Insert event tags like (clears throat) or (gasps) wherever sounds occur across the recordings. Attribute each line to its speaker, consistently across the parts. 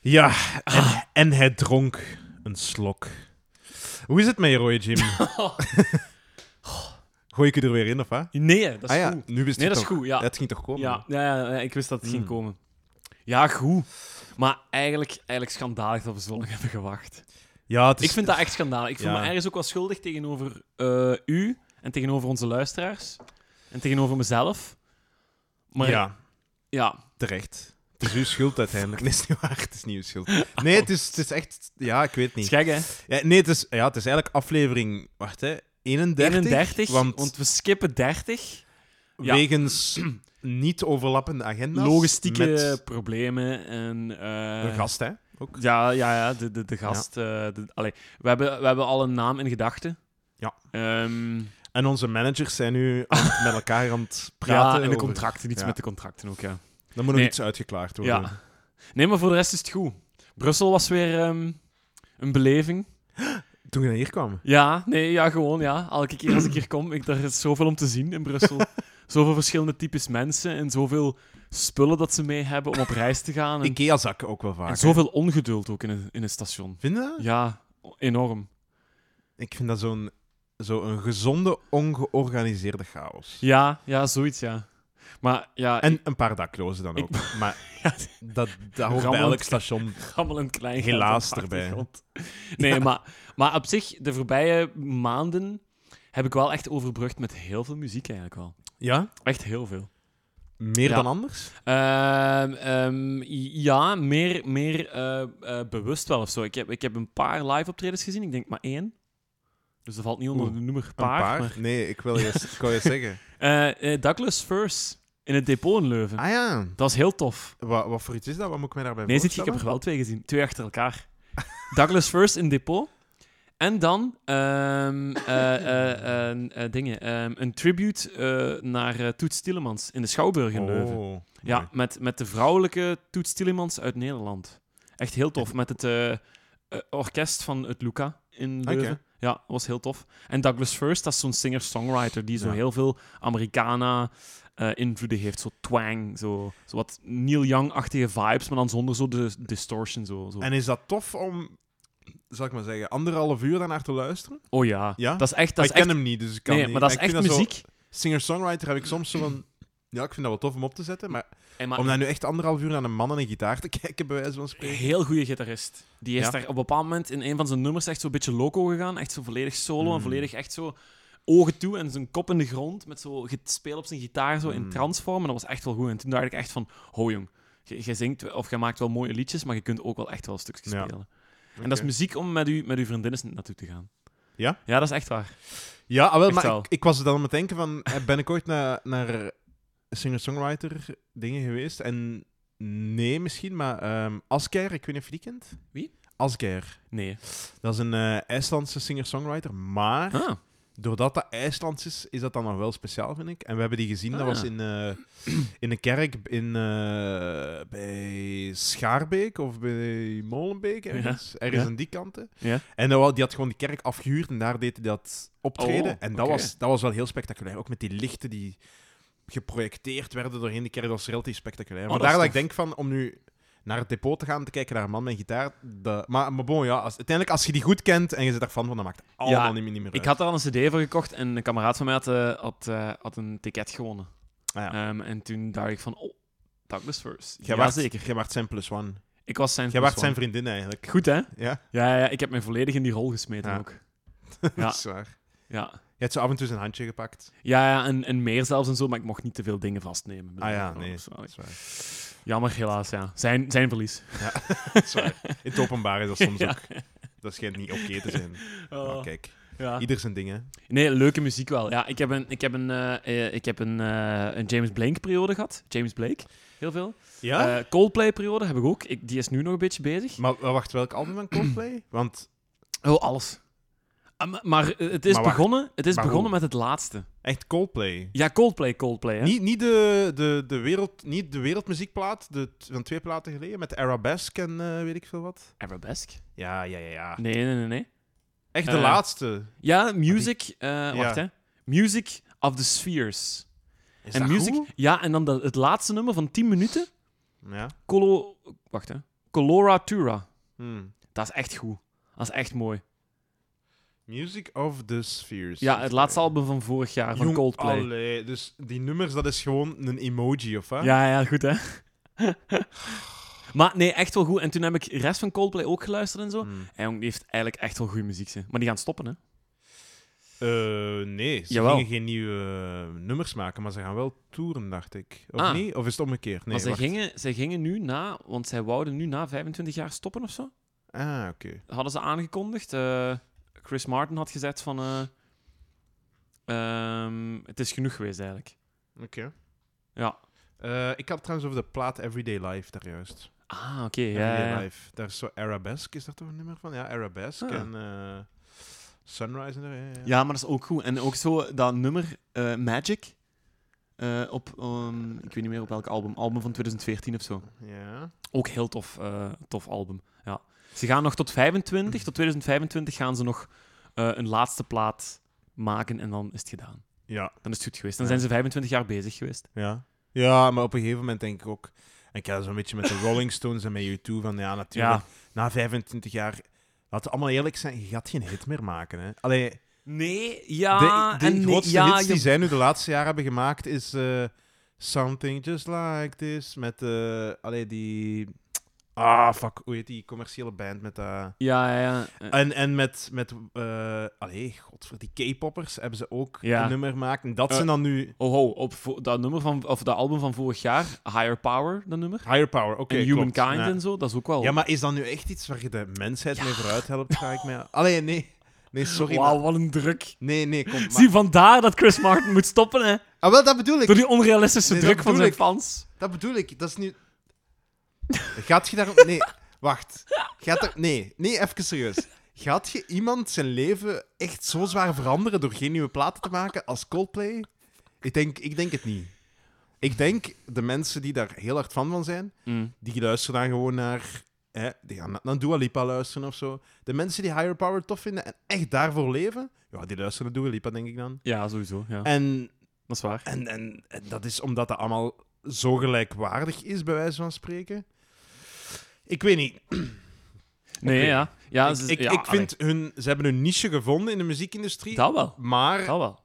Speaker 1: Ja, en,
Speaker 2: Ah.
Speaker 1: en hij dronk een slok. Hoe is het met je, Roy
Speaker 2: (laughs)
Speaker 1: Jim? (laughs) Gooi ik je er weer in, of wat?
Speaker 2: Nee, dat is
Speaker 1: ah ja,
Speaker 2: goed.
Speaker 1: nu wist
Speaker 2: Nee,
Speaker 1: het
Speaker 2: dat is
Speaker 1: toch.
Speaker 2: goed, ja.
Speaker 1: Het ging toch komen?
Speaker 2: Ja, ja, ja, ja, ik wist dat het ging
Speaker 1: Mm.
Speaker 2: komen. Ja, goed. Maar eigenlijk, eigenlijk schandalig dat we zo lang hebben gewacht.
Speaker 1: Ja, het is-
Speaker 2: ik vind dat echt schandalig. Ik voel
Speaker 1: Ja.
Speaker 2: me ergens ook wel schuldig tegenover eh, u en tegenover onze luisteraars en tegenover mezelf. Maar ja,
Speaker 1: Ja, terecht. Het is uw schuld uiteindelijk. (laughs) Oh. Nee, het is niet waar. Het is niet uw (laughs) schuld. Nee, het is, het is echt... Ja, ik weet
Speaker 2: is
Speaker 1: niet.
Speaker 2: gek, hè?
Speaker 1: Ja, nee, het is, ja, het is eigenlijk aflevering... Wacht, hè. 31?
Speaker 2: 31, want...
Speaker 1: want
Speaker 2: we skippen 30. ja.
Speaker 1: wegens niet overlappende agenda's...
Speaker 2: Logistieke
Speaker 1: met
Speaker 2: problemen en... eh,
Speaker 1: een gast, hè. Ook.
Speaker 2: Ja, ja, ja de, de, de gast. eh, de- allee, we, hebben, we hebben al een naam in gedachten.
Speaker 1: Ja.
Speaker 2: Ehm,
Speaker 1: En onze managers zijn nu aan het- met elkaar aan het praten.
Speaker 2: (laughs) ja, en de
Speaker 1: over-
Speaker 2: contracten. Iets
Speaker 1: ja.
Speaker 2: met de contracten ook, ja.
Speaker 1: Dan moet nog
Speaker 2: Nee.
Speaker 1: iets uitgeklaard worden.
Speaker 2: ja. Nee, maar voor de rest is het goed. Brussel was weer ehm, een beleving.
Speaker 1: Toen we naar hier kwamen.
Speaker 2: Ja, nee, ja, gewoon, ja. Elke keer als ik hier kom, ik, daar is zoveel om te zien in
Speaker 1: (laughs)
Speaker 2: Brussel. zoveel verschillende types mensen en zoveel spullen dat ze mee hebben om op reis te gaan. En,
Speaker 1: Ikea-zakken ook wel vaak.
Speaker 2: en
Speaker 1: hè.
Speaker 2: zoveel ongeduld ook in een, in een station.
Speaker 1: Vind je dat?
Speaker 2: Ja, enorm.
Speaker 1: Ik vind dat zo'n zo een gezonde, ongeorganiseerde chaos.
Speaker 2: Ja, ja, zoiets, ja. Maar ja,
Speaker 1: En een paar daklozen dan
Speaker 2: Ik-
Speaker 1: ook.
Speaker 2: (laughs)
Speaker 1: Maar
Speaker 2: Ja,
Speaker 1: dat, dat hoort bij
Speaker 2: Rammelend.
Speaker 1: elk station.
Speaker 2: (laughs) rammelend klein
Speaker 1: Helaas
Speaker 2: op de
Speaker 1: erbij.
Speaker 2: achtergrond. Nee, maar, maar op zich, de voorbije maanden heb ik wel echt overbrugd met heel veel muziek eigenlijk wel.
Speaker 1: Ja?
Speaker 2: Echt heel veel.
Speaker 1: Meer
Speaker 2: Ja.
Speaker 1: dan anders?
Speaker 2: Ehm, ehm, i- ja, meer, meer eh, eh, bewust wel of zo. Ik heb, ik heb een paar live optredens gezien, ik denk maar één. Dus dat valt niet onder
Speaker 1: Oeh,
Speaker 2: de nummer
Speaker 1: Een
Speaker 2: paar.
Speaker 1: paar?
Speaker 2: maar-
Speaker 1: Nee, ik wil je, ik
Speaker 2: (laughs)
Speaker 1: wou je zeggen.
Speaker 2: Eh, eh, Douglas First in het depot in Leuven.
Speaker 1: Ah ja.
Speaker 2: Dat was heel tof.
Speaker 1: Wat, wat voor iets is dat? Wat moet ik mij daarbij
Speaker 2: Nee, zit je, ik
Speaker 1: voorstellen?
Speaker 2: heb er wel twee gezien. Twee achter elkaar. (laughs) Douglas First in Depot. En dan ehm, eh, eh, eh, eh, dingen. ehm, een tribute eh, naar eh, Toets Tielemans in de Schouwburg in Leuven.
Speaker 1: Oh,
Speaker 2: Ja,
Speaker 1: mooi.
Speaker 2: met, met de vrouwelijke Toets Tielemans uit Nederland. Echt heel tof. Met het eh, eh, orkest van het Luca in
Speaker 1: Ah, Oké.
Speaker 2: Leuven. Ja, was heel tof. En Douglas First, dat is zo'n singer-songwriter die zo
Speaker 1: Ja.
Speaker 2: heel veel Americana-invloeden heeft. Zo twang, zo, zo wat Neil Young-achtige vibes, maar dan zonder zo de distortion. Zo, zo.
Speaker 1: En is dat tof om, zal ik maar zeggen, anderhalf uur daarnaar te luisteren?
Speaker 2: oh ja.
Speaker 1: Ja?
Speaker 2: dat is echt... Dat
Speaker 1: Maar
Speaker 2: is
Speaker 1: ik ken
Speaker 2: echt
Speaker 1: hem niet, dus ik kan
Speaker 2: nee,
Speaker 1: niet.
Speaker 2: maar dat is
Speaker 1: ik
Speaker 2: echt
Speaker 1: vind zo-
Speaker 2: muziek.
Speaker 1: Singer-songwriter heb ik soms zo van... Ja, ik vind dat wel tof om op te zetten, maar
Speaker 2: En maar
Speaker 1: om daar nu echt anderhalf uur naar een man en een gitaar te (laughs) kijken, bij wijze van spreken...
Speaker 2: heel goede gitarist. Die is
Speaker 1: Ja.
Speaker 2: daar op een bepaald moment in een van zijn nummers echt zo'n beetje loco gegaan. Echt zo volledig solo en
Speaker 1: Mm.
Speaker 2: volledig echt zo ogen toe en zijn kop in de grond met zo het spelen op zijn gitaar zo in
Speaker 1: Mm.
Speaker 2: transvorm. En dat was echt wel goed. En toen dacht ik echt van, ho jong, je je zingt wel- of je maakt wel mooie liedjes, maar je kunt ook wel echt wel stukjes
Speaker 1: Ja.
Speaker 2: spelen. En dat is muziek om met, u, met uw vriendinnen naartoe te gaan.
Speaker 1: Ja?
Speaker 2: Ja, dat is echt waar.
Speaker 1: Ja, ah, wel,
Speaker 2: Echt
Speaker 1: maar
Speaker 2: wel.
Speaker 1: Ik, ik was er dan aan het denken van... eh, Ben ik ooit naar, naar singer-songwriter dingen geweest? En nee, misschien, maar ehm Asger, ik weet niet of je die kent?
Speaker 2: Wie?
Speaker 1: Asger.
Speaker 2: Nee.
Speaker 1: Dat is een eh, IJslandse singer-songwriter, maar
Speaker 2: Ah,
Speaker 1: doordat dat IJslands is, is dat dan nog wel speciaal, vind ik. En we hebben die gezien, dat
Speaker 2: Ah.
Speaker 1: was in, eh, in een kerk in, eh, bij Schaarbeek of bij Molenbeek, ergens, ergens
Speaker 2: ja.
Speaker 1: aan die kanten.
Speaker 2: Ja.
Speaker 1: En dat, wa- die had gewoon die kerk afgehuurd en daar deed hij dat optreden.
Speaker 2: Oh,
Speaker 1: en dat,
Speaker 2: oké.
Speaker 1: was, dat was wel heel spectaculair, ook met die lichten die geprojecteerd werden doorheen de kerk, dat was relatief spectaculair.
Speaker 2: Oh,
Speaker 1: maar
Speaker 2: dat is
Speaker 1: daar dat ik
Speaker 2: tof.
Speaker 1: denk van, om nu naar het depot te gaan, te kijken naar een man met gitaar, dat- maar, maar bon, ja, als, uiteindelijk als je die goed kent en je zit daar fan van, dan maakt het allemaal niet, meer- niet meer uit.
Speaker 2: ik had daar al een cd voor gekocht en een kameraad van mij had, eh, had, eh, had een ticket gewonnen.
Speaker 1: Ah, ja.
Speaker 2: Ehm, en toen dacht ik van, oh, Douglas First.
Speaker 1: Jij
Speaker 2: ja,
Speaker 1: waart-
Speaker 2: zeker.
Speaker 1: Jij waart zijn plus one.
Speaker 2: Ik was zijn
Speaker 1: Jij
Speaker 2: plus
Speaker 1: waart zijn
Speaker 2: one.
Speaker 1: vriendin eigenlijk.
Speaker 2: Goed, hè?
Speaker 1: Ja,
Speaker 2: Ja, ja, ik heb mij volledig in die rol gesmeten
Speaker 1: Ja.
Speaker 2: ook.
Speaker 1: (laughs) dat is waar.
Speaker 2: Ja,
Speaker 1: Je hebt zo af en toe zijn handje gepakt.
Speaker 2: ja, ja en, en meer zelfs en zo, maar ik mocht niet te veel dingen vastnemen.
Speaker 1: Ah ja,
Speaker 2: Bedoel,
Speaker 1: nee.
Speaker 2: zo.
Speaker 1: Dat is waar.
Speaker 2: Jammer, helaas, ja. Zijn, zijn verlies.
Speaker 1: Dat is
Speaker 2: (laughs)
Speaker 1: waar. In het openbaar is dat soms
Speaker 2: Ja.
Speaker 1: ook. Dat schijnt niet oké te zijn.
Speaker 2: Oh,
Speaker 1: Maar kijk,
Speaker 2: ja.
Speaker 1: ieder zijn ding, hè.
Speaker 2: Nee, leuke muziek wel. Ja, ik heb een, ik heb een, eh, eh, ik heb een, eh, een James Blake-periode gehad. James Blake, heel veel.
Speaker 1: Ja?
Speaker 2: Eh, Coldplay-periode heb ik ook. Ik, die is nu nog een beetje bezig.
Speaker 1: maar maar wacht, welk album van
Speaker 2: (clears throat)
Speaker 1: Coldplay? Want
Speaker 2: Oh, alles. Ah, maar, maar, eh, het is
Speaker 1: Maar wacht.
Speaker 2: begonnen, het is
Speaker 1: Maar
Speaker 2: begonnen
Speaker 1: hoe?
Speaker 2: met het laatste.
Speaker 1: echt Coldplay.
Speaker 2: Ja, Coldplay, Coldplay, hè?
Speaker 1: Niet, niet, de, de, de wereld, niet de wereldmuziekplaat de, t- van twee platen geleden, met Arabesque en eh, weet ik veel wat.
Speaker 2: Arabesk?
Speaker 1: Ja, ja, ja, ja.
Speaker 2: Nee, nee, nee, nee.
Speaker 1: Echt de
Speaker 2: Eh.
Speaker 1: laatste.
Speaker 2: Ja, music. eh, Wacht
Speaker 1: Ja.
Speaker 2: hè. Music of the Spheres.
Speaker 1: Is
Speaker 2: en
Speaker 1: dat
Speaker 2: music.
Speaker 1: goed?
Speaker 2: Ja, en dan dat- het laatste nummer van 10 minuten.
Speaker 1: Ja.
Speaker 2: Colo. Wacht hè. Coloratura.
Speaker 1: Hmm.
Speaker 2: Dat is echt goed. Dat is echt mooi.
Speaker 1: Music of the Spheres.
Speaker 2: Ja, het laatste album van vorig jaar van
Speaker 1: Jong,
Speaker 2: Coldplay.
Speaker 1: allee, dus die nummers, dat is gewoon een emoji, of wat?
Speaker 2: Ja, ja, goed hè. (laughs) maar nee, echt wel goed. En toen heb ik de rest van Coldplay ook geluisterd en zo.
Speaker 1: Hmm.
Speaker 2: En jong, die heeft eigenlijk echt wel goede muziek. Ze. Maar die gaan stoppen, hè?
Speaker 1: Eh, nee, ze
Speaker 2: Jawel.
Speaker 1: gingen geen nieuwe eh, nummers maken, maar ze gaan wel toeren, dacht ik. Of
Speaker 2: Ah.
Speaker 1: niet? Of is het omgekeerd? Nee,
Speaker 2: maar zij
Speaker 1: wacht.
Speaker 2: gingen, zij gingen nu na, want zij wouden nu na 25 jaar stoppen of zo.
Speaker 1: Ah, oké.
Speaker 2: Hadden ze aangekondigd. Eh, Chris Martin had gezegd van. eh, ehm, het is genoeg geweest eigenlijk.
Speaker 1: Oké.
Speaker 2: Ja.
Speaker 1: Eh, ik had trouwens over de plaat Everyday Life daar juist.
Speaker 2: Ah, oké. ja,
Speaker 1: Everyday
Speaker 2: ja, ja.
Speaker 1: Life. Daar is zo Arabesque, is daar toch een nummer van? Ja, Arabesque
Speaker 2: Ah.
Speaker 1: en eh, Sunrise. En, eh, ja.
Speaker 2: Ja, maar dat is ook goed. En ook zo dat nummer eh, Magic. eh, op, ehm, ik weet niet meer op welk album. Album van 2014 of zo.
Speaker 1: Ja.
Speaker 2: Ook heel tof, eh, tof album. Ja. Ze gaan nog tot 25, tot 2025 gaan ze nog eh, een laatste plaat maken en dan is het gedaan.
Speaker 1: ja.
Speaker 2: Dan is het goed geweest. Dan
Speaker 1: Ja.
Speaker 2: zijn ze 25 jaar bezig geweest.
Speaker 1: Ja. Ja, maar op een gegeven moment denk ik ook... En ik had zo'n beetje met
Speaker 2: (laughs)
Speaker 1: de Rolling Stones en met U2 van... Ja, natuurlijk. Na 25 jaar... Laten we allemaal eerlijk zijn, je gaat geen hit meer maken. Hè? Allee,
Speaker 2: Nee, ja.
Speaker 1: de de
Speaker 2: Ah, en nee,
Speaker 1: grootste
Speaker 2: ja,
Speaker 1: hits die
Speaker 2: je-
Speaker 1: zij nu de laatste jaren hebben gemaakt is... eh, Something Just Like This, met... eh allee, die... Ah, fuck, hoe heet die commerciële band met dat...
Speaker 2: Ja, ja, ja. Eh,
Speaker 1: En, en met, met eh allee, godver, die K-poppers hebben ze ook
Speaker 2: Ja.
Speaker 1: een nummer gemaakt. En dat
Speaker 2: Eh.
Speaker 1: zijn dan nu
Speaker 2: Oh, ho, op vo- dat, nummer van, of dat album van vorig jaar, Higher Power, dat nummer.
Speaker 1: Higher Power. Oké,
Speaker 2: en
Speaker 1: klopt.
Speaker 2: Humankind
Speaker 1: Ja.
Speaker 2: en zo, dat is ook wel...
Speaker 1: Ja, maar is dat nu echt iets waar je de mensheid mee vooruit helpt, ga ik mij... Allee, nee. Nee, sorry. maar-
Speaker 2: Wauw, wat een druk.
Speaker 1: Nee, nee, kom. Maar...
Speaker 2: Zie vandaar dat Chris Martin moet stoppen, hè.
Speaker 1: Ah, wel, dat bedoel ik.
Speaker 2: Door die onrealistische
Speaker 1: Nee, dat
Speaker 2: druk van
Speaker 1: bedoel
Speaker 2: zijn
Speaker 1: ik.
Speaker 2: fans.
Speaker 1: Dat bedoel ik. Dat is nu... Gaat je daar... Nee, wacht. Gaat er... Nee, nee, even serieus. Gaat je iemand zijn leven echt zo zwaar veranderen door geen nieuwe platen te maken als Coldplay? Ik denk, ik denk het niet. Ik denk de mensen die daar heel hard fan van zijn, die luisteren dan gewoon naar... Hè, die gaan naar Dua Lipa luisteren of zo. De mensen die Higher Power tof vinden en echt daarvoor leven, ja, die luisteren naar Dua Lipa, denk ik dan.
Speaker 2: Ja, sowieso. Ja.
Speaker 1: En
Speaker 2: dat is waar.
Speaker 1: en, en, en dat is omdat dat allemaal zo gelijkwaardig is, bij wijze van spreken. Ik weet niet.
Speaker 2: Nee,
Speaker 1: Oké.
Speaker 2: ja. ja,
Speaker 1: ik,
Speaker 2: ze-
Speaker 1: ik,
Speaker 2: ja,
Speaker 1: ik vind hun... Ze hebben hun niche gevonden in de muziekindustrie.
Speaker 2: allee. Dat wel.
Speaker 1: Maar
Speaker 2: Dat wel.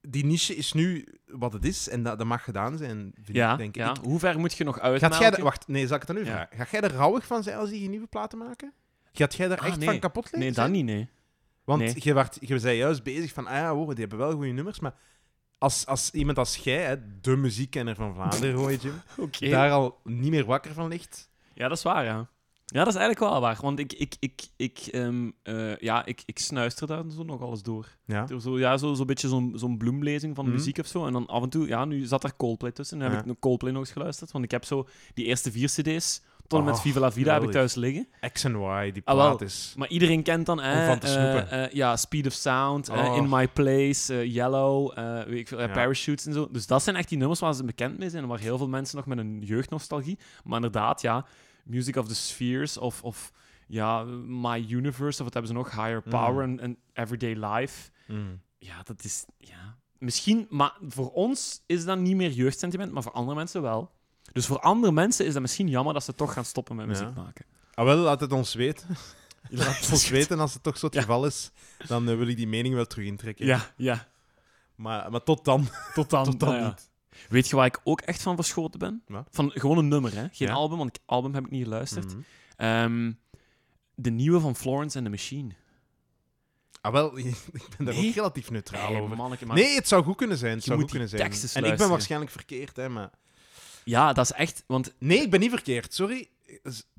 Speaker 1: die niche is nu wat het is. En dat, dat mag gedaan zijn, vind
Speaker 2: Ja,
Speaker 1: ik, denk
Speaker 2: ja.
Speaker 1: ik.
Speaker 2: Hoe ver moet je nog
Speaker 1: Gaat
Speaker 2: uitmelken?
Speaker 1: jij... er- Wacht, nee, zal ik het dan nu
Speaker 2: Ja.
Speaker 1: vragen? Gaat jij er rouwig van zijn als die nieuwe platen maken? Gaat jij daar
Speaker 2: Ah,
Speaker 1: echt
Speaker 2: nee.
Speaker 1: van kapot liggen?
Speaker 2: Nee, dat niet, nee.
Speaker 1: Want
Speaker 2: Nee.
Speaker 1: je, werd, je zei juist bezig van, ah ja, wow, die hebben wel goede nummers, maar als, als iemand als jij, hè, de muziekkenner van Vlaanderen, hoor je, Jim,
Speaker 2: Oké.
Speaker 1: daar al niet meer wakker van ligt.
Speaker 2: Ja, dat is waar, ja. Ja, dat is eigenlijk wel waar. Want ik, ik, ik, ik, ehm, eh, ja, ik, ik snuister daar zo nog alles door.
Speaker 1: Ja.
Speaker 2: Door Zo, ja, zo'n zo beetje zo'n zo'n bloemlezing van
Speaker 1: Mhm.
Speaker 2: muziek of zo. En dan af en toe, ja, nu zat er Coldplay tussen. En dan heb
Speaker 1: Ja.
Speaker 2: ik Coldplay nog eens geluisterd. Want ik heb zo die eerste vier cd's, tot en met
Speaker 1: Oh,
Speaker 2: Viva La Vida, heb ik
Speaker 1: geweldig.
Speaker 2: thuis liggen.
Speaker 1: X en Y, die
Speaker 2: Ah, wel.
Speaker 1: plaat is...
Speaker 2: Maar iedereen kent dan, hè?
Speaker 1: Om van te
Speaker 2: eh,
Speaker 1: snoepen.
Speaker 2: eh, ja, Speed of Sound, eh,
Speaker 1: Oh.
Speaker 2: In My Place, eh, Yellow, eh, weet ik veel, eh,
Speaker 1: Ja.
Speaker 2: Parachutes en zo. Dus dat zijn echt die nummers waar ze bekend mee zijn en waar heel veel mensen nog met een jeugdnostalgie. Maar inderdaad, ja, Music of the Spheres of, of ja, My Universe, of wat hebben ze nog? Higher Power
Speaker 1: Mm.
Speaker 2: en, en Everyday Life. Ja, dat is, ja, misschien, maar voor ons is dat niet meer jeugdsentiment, maar voor andere mensen wel. Dus voor andere mensen is dat misschien jammer dat ze toch gaan stoppen met
Speaker 1: Ja.
Speaker 2: muziek
Speaker 1: (laughs)
Speaker 2: maken.
Speaker 1: Ah, wel, laat het ons
Speaker 2: (laughs)
Speaker 1: weten. Laat het ons
Speaker 2: Ja.
Speaker 1: weten, als het toch zo het
Speaker 2: Ja.
Speaker 1: geval is, dan eh, wil ik die mening wel terug intrekken.
Speaker 2: Ja, ja.
Speaker 1: Maar, maar tot dan.
Speaker 2: Tot dan.
Speaker 1: Tot dan
Speaker 2: nou ja.
Speaker 1: niet.
Speaker 2: Weet je waar ik ook echt van verschoten ben?
Speaker 1: Wat?
Speaker 2: Van gewoon een nummer, hè? Geen
Speaker 1: Ja.
Speaker 2: album, want ik- album heb ik niet geluisterd.
Speaker 1: Mhm.
Speaker 2: Ehm, de nieuwe van Florence and the Machine.
Speaker 1: Ah, wel, (laughs) ik ben daar
Speaker 2: Nee.
Speaker 1: ook relatief neutraal
Speaker 2: Hey,
Speaker 1: over.
Speaker 2: manneke, maar-
Speaker 1: Nee, het zou goed kunnen zijn. Het
Speaker 2: Je
Speaker 1: zou
Speaker 2: moet
Speaker 1: goed kunnen
Speaker 2: die
Speaker 1: zijn. En
Speaker 2: tekst eens
Speaker 1: ik ben
Speaker 2: luisteren.
Speaker 1: waarschijnlijk verkeerd, hè, maar...
Speaker 2: Ja, dat is echt. Want
Speaker 1: Nee, ik ben niet verkeerd, sorry.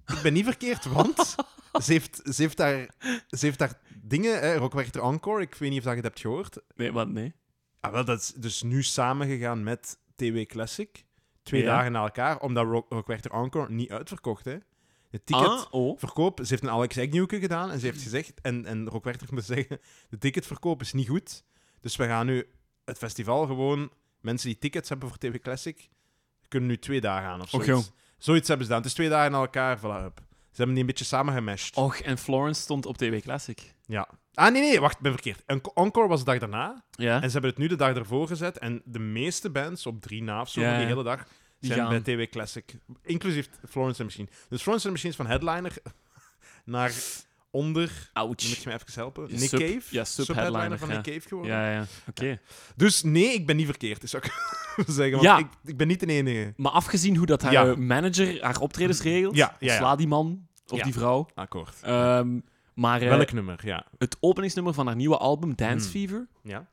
Speaker 1: Ik ben niet verkeerd,
Speaker 2: (laughs)
Speaker 1: want ze heeft, ze heeft, daar, ze heeft daar dingen, hè, Rockwerchter Encore, ik weet niet of dat je het hebt gehoord.
Speaker 2: nee, wat nee.
Speaker 1: Ah, wel, dat is dus nu samengegaan met TW Classic, twee
Speaker 2: Ja.
Speaker 1: dagen na elkaar, omdat Rock, Rockwerchter Encore niet uitverkocht, hè. De ticket...
Speaker 2: Ah, oh.
Speaker 1: Verkoop, ze heeft een Alex Agnew gedaan en ze heeft gezegd, en, en Rockwerchter moet zeggen, de ticketverkoop is niet goed, dus we gaan nu het festival gewoon, mensen die tickets hebben voor TW Classic, kunnen nu twee dagen aan of
Speaker 2: Och,
Speaker 1: zoiets. Zoiets hebben ze gedaan. Het is twee dagen na elkaar, voilà, up. Ze hebben die een beetje samen gemeshed.
Speaker 2: Och, en Florence stond op TW Classic.
Speaker 1: Ja. Ah, nee, nee, wacht, ik ben verkeerd. En Encore was de dag daarna, (laughs)
Speaker 2: Ja.
Speaker 1: en ze hebben het nu de dag ervoor gezet, en de meeste bands op drie na of zo
Speaker 2: Ja,
Speaker 1: van die
Speaker 2: ja.
Speaker 1: hele dag
Speaker 2: Die
Speaker 1: zijn
Speaker 2: gaan.
Speaker 1: bij TW Classic. Inclusief Florence and the Machine. Dus Florence and the Machine is van headliner (laughs) naar onder... Dan moet
Speaker 2: Ouch.
Speaker 1: je me even helpen.
Speaker 2: Ja,
Speaker 1: Nick
Speaker 2: sub-
Speaker 1: Cave.
Speaker 2: ja,
Speaker 1: Subheadliner
Speaker 2: subheadliner,
Speaker 1: van
Speaker 2: ja.
Speaker 1: Nick Cave geworden.
Speaker 2: Ja, ja. Oké.
Speaker 1: Dus nee, ik ben niet verkeerd, (laughs) zou ik zeggen. Want
Speaker 2: Ja.
Speaker 1: ik, ik ben niet eh, de enige.
Speaker 2: Maar afgezien hoe dat haar
Speaker 1: Ja.
Speaker 2: eh, manager haar optredens regelt,
Speaker 1: Ja, ja, ja.
Speaker 2: sla die man of
Speaker 1: Ja.
Speaker 2: die vrouw.
Speaker 1: Akkoord.
Speaker 2: Ehm, maar eh,
Speaker 1: Welk nummer? Ja.
Speaker 2: het openingsnummer van haar nieuwe album, Dance
Speaker 1: Hmm.
Speaker 2: Fever,
Speaker 1: ja.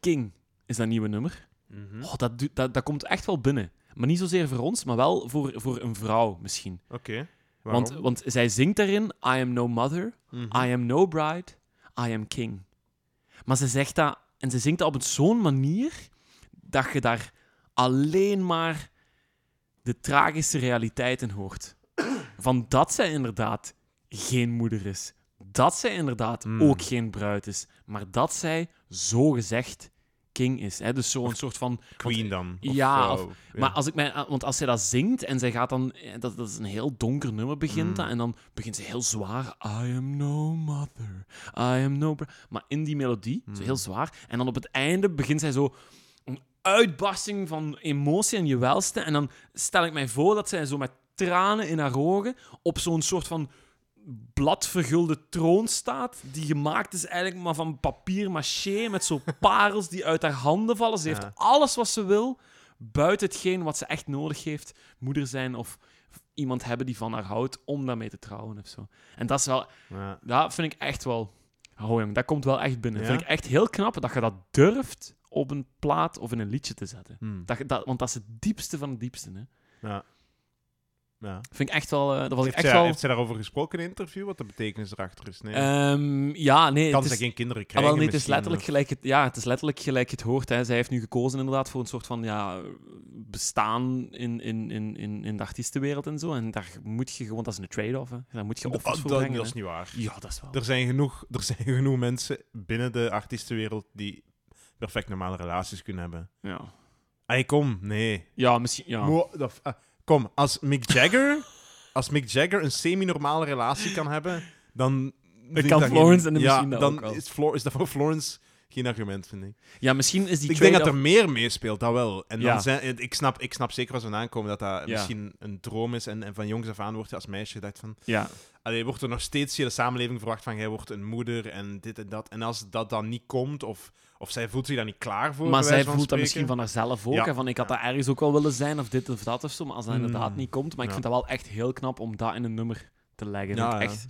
Speaker 2: King, is dat nieuwe nummer.
Speaker 1: Mhm.
Speaker 2: Oh, dat, doet- dat, dat komt echt wel binnen. Maar niet zozeer voor ons, maar wel voor, voor een vrouw misschien.
Speaker 1: Oké. Waarom?
Speaker 2: Want, want zij zingt daarin, I am no mother,
Speaker 1: Mhm.
Speaker 2: I am no bride, I am king. Maar ze zegt dat, en ze zingt dat op een zo'n manier, dat je daar alleen maar de tragische realiteit in hoort. Van dat zij inderdaad geen moeder is. Dat zij inderdaad
Speaker 1: Mm.
Speaker 2: ook geen bruid is. Maar dat zij, zogezegd, king is. Hè? Dus zo'n soort van
Speaker 1: Queen dan. Of,
Speaker 2: Ja,
Speaker 1: eh, ja.
Speaker 2: maar als ik mij, ah, want als zij dat zingt en zij gaat dan, eh, dat, dat is een heel donker nummer begint
Speaker 1: Mm.
Speaker 2: dat, en dan begint ze heel zwaar, I am no mother, I am no bro-" maar in die melodie,
Speaker 1: Mm.
Speaker 2: zo heel zwaar, en dan op het einde begint zij zo een uitbarsting van emotie en je welste, en dan stel ik mij voor dat zij zo met tranen in haar ogen op zo'n soort van bladvergulde troon staat, die gemaakt is eigenlijk maar van papier maché, met zo'n parels die uit haar handen vallen. Ze heeft
Speaker 1: Ja.
Speaker 2: alles wat ze wil, buiten hetgeen wat ze echt nodig heeft. Moeder zijn of iemand hebben die van haar houdt, om daarmee te trouwen of zo. En dat is wel...
Speaker 1: Ja.
Speaker 2: Dat vind ik echt wel... Oh jong, dat komt wel echt binnen.
Speaker 1: Ja?
Speaker 2: vind ik echt heel knap, dat je dat durft op een plaat of in een liedje te zetten.
Speaker 1: Hmm.
Speaker 2: Dat, je- dat, want dat is het diepste van het diepste, hè.
Speaker 1: Ja.
Speaker 2: Vind ik echt wel... eh, dat was ik
Speaker 1: Heeft,
Speaker 2: echt
Speaker 1: zij,
Speaker 2: wel...
Speaker 1: heeft zij daarover gesproken in een interview? Wat de betekenis erachter is? Nee.
Speaker 2: Ehm, ja, nee,
Speaker 1: kan
Speaker 2: het
Speaker 1: zij
Speaker 2: is-
Speaker 1: geen kinderen
Speaker 2: Ah,
Speaker 1: krijgen?
Speaker 2: wel, nee, het is
Speaker 1: misschien, eh.
Speaker 2: letterlijk gelijk het, ja, het is letterlijk gelijk het hoort. Hè. Zij heeft nu gekozen inderdaad voor een soort van ja, bestaan in, in, in, in, in de artiestenwereld en zo. En daar moet je gewoon, dat is een trade-off. hè. Daar moet je
Speaker 1: of-
Speaker 2: offers
Speaker 1: Ah,
Speaker 2: voor
Speaker 1: dat,
Speaker 2: brengen.
Speaker 1: dat is
Speaker 2: hè.
Speaker 1: niet waar.
Speaker 2: Ja, dat is wel.
Speaker 1: Er zijn, genoeg, (laughs) er zijn genoeg mensen binnen de artiestenwereld die perfect normale relaties kunnen hebben.
Speaker 2: Ja,
Speaker 1: Ay, kom, nee.
Speaker 2: ja misschien. Ja.
Speaker 1: Mo- dat- ah, kom, als
Speaker 2: (laughs)
Speaker 1: Mick Jagger, als Mick Jagger een semi-normale relatie kan hebben, dan vind ik
Speaker 2: kan
Speaker 1: dat
Speaker 2: Florence en de
Speaker 1: ja,
Speaker 2: machine dat
Speaker 1: dan
Speaker 2: ook wel.
Speaker 1: Is, Flor- is dat voor Florence geen argument, vind ik.
Speaker 2: ja, misschien is die
Speaker 1: ik denk dat
Speaker 2: trade-off-
Speaker 1: er meer meespeelt, dat wel. En dan
Speaker 2: Ja.
Speaker 1: zijn, ik, snap, ik snap zeker waar ze vandaan komen dat dat
Speaker 2: Ja.
Speaker 1: misschien een droom is. En, en van jongs af aan wordt je als meisje gedacht van...
Speaker 2: Ja,
Speaker 1: Allee, wordt er nog steeds hier de samenleving verwacht van... Jij wordt een moeder en dit en dat. En als dat dan niet komt, of, of zij voelt zich daar niet klaar voor...
Speaker 2: maar
Speaker 1: bij
Speaker 2: zij
Speaker 1: wijze van
Speaker 2: voelt dat
Speaker 1: spreken.
Speaker 2: misschien van haarzelf ook.
Speaker 1: Ja.
Speaker 2: hè, Van ik had dat ergens ook wel willen zijn, of dit of dat of zo. Maar als dat inderdaad
Speaker 1: Mm.
Speaker 2: niet komt. Maar ik
Speaker 1: Ja.
Speaker 2: vind dat wel echt heel knap om dat in een nummer te leggen.
Speaker 1: Ja,
Speaker 2: Vind ik
Speaker 1: ja.
Speaker 2: echt,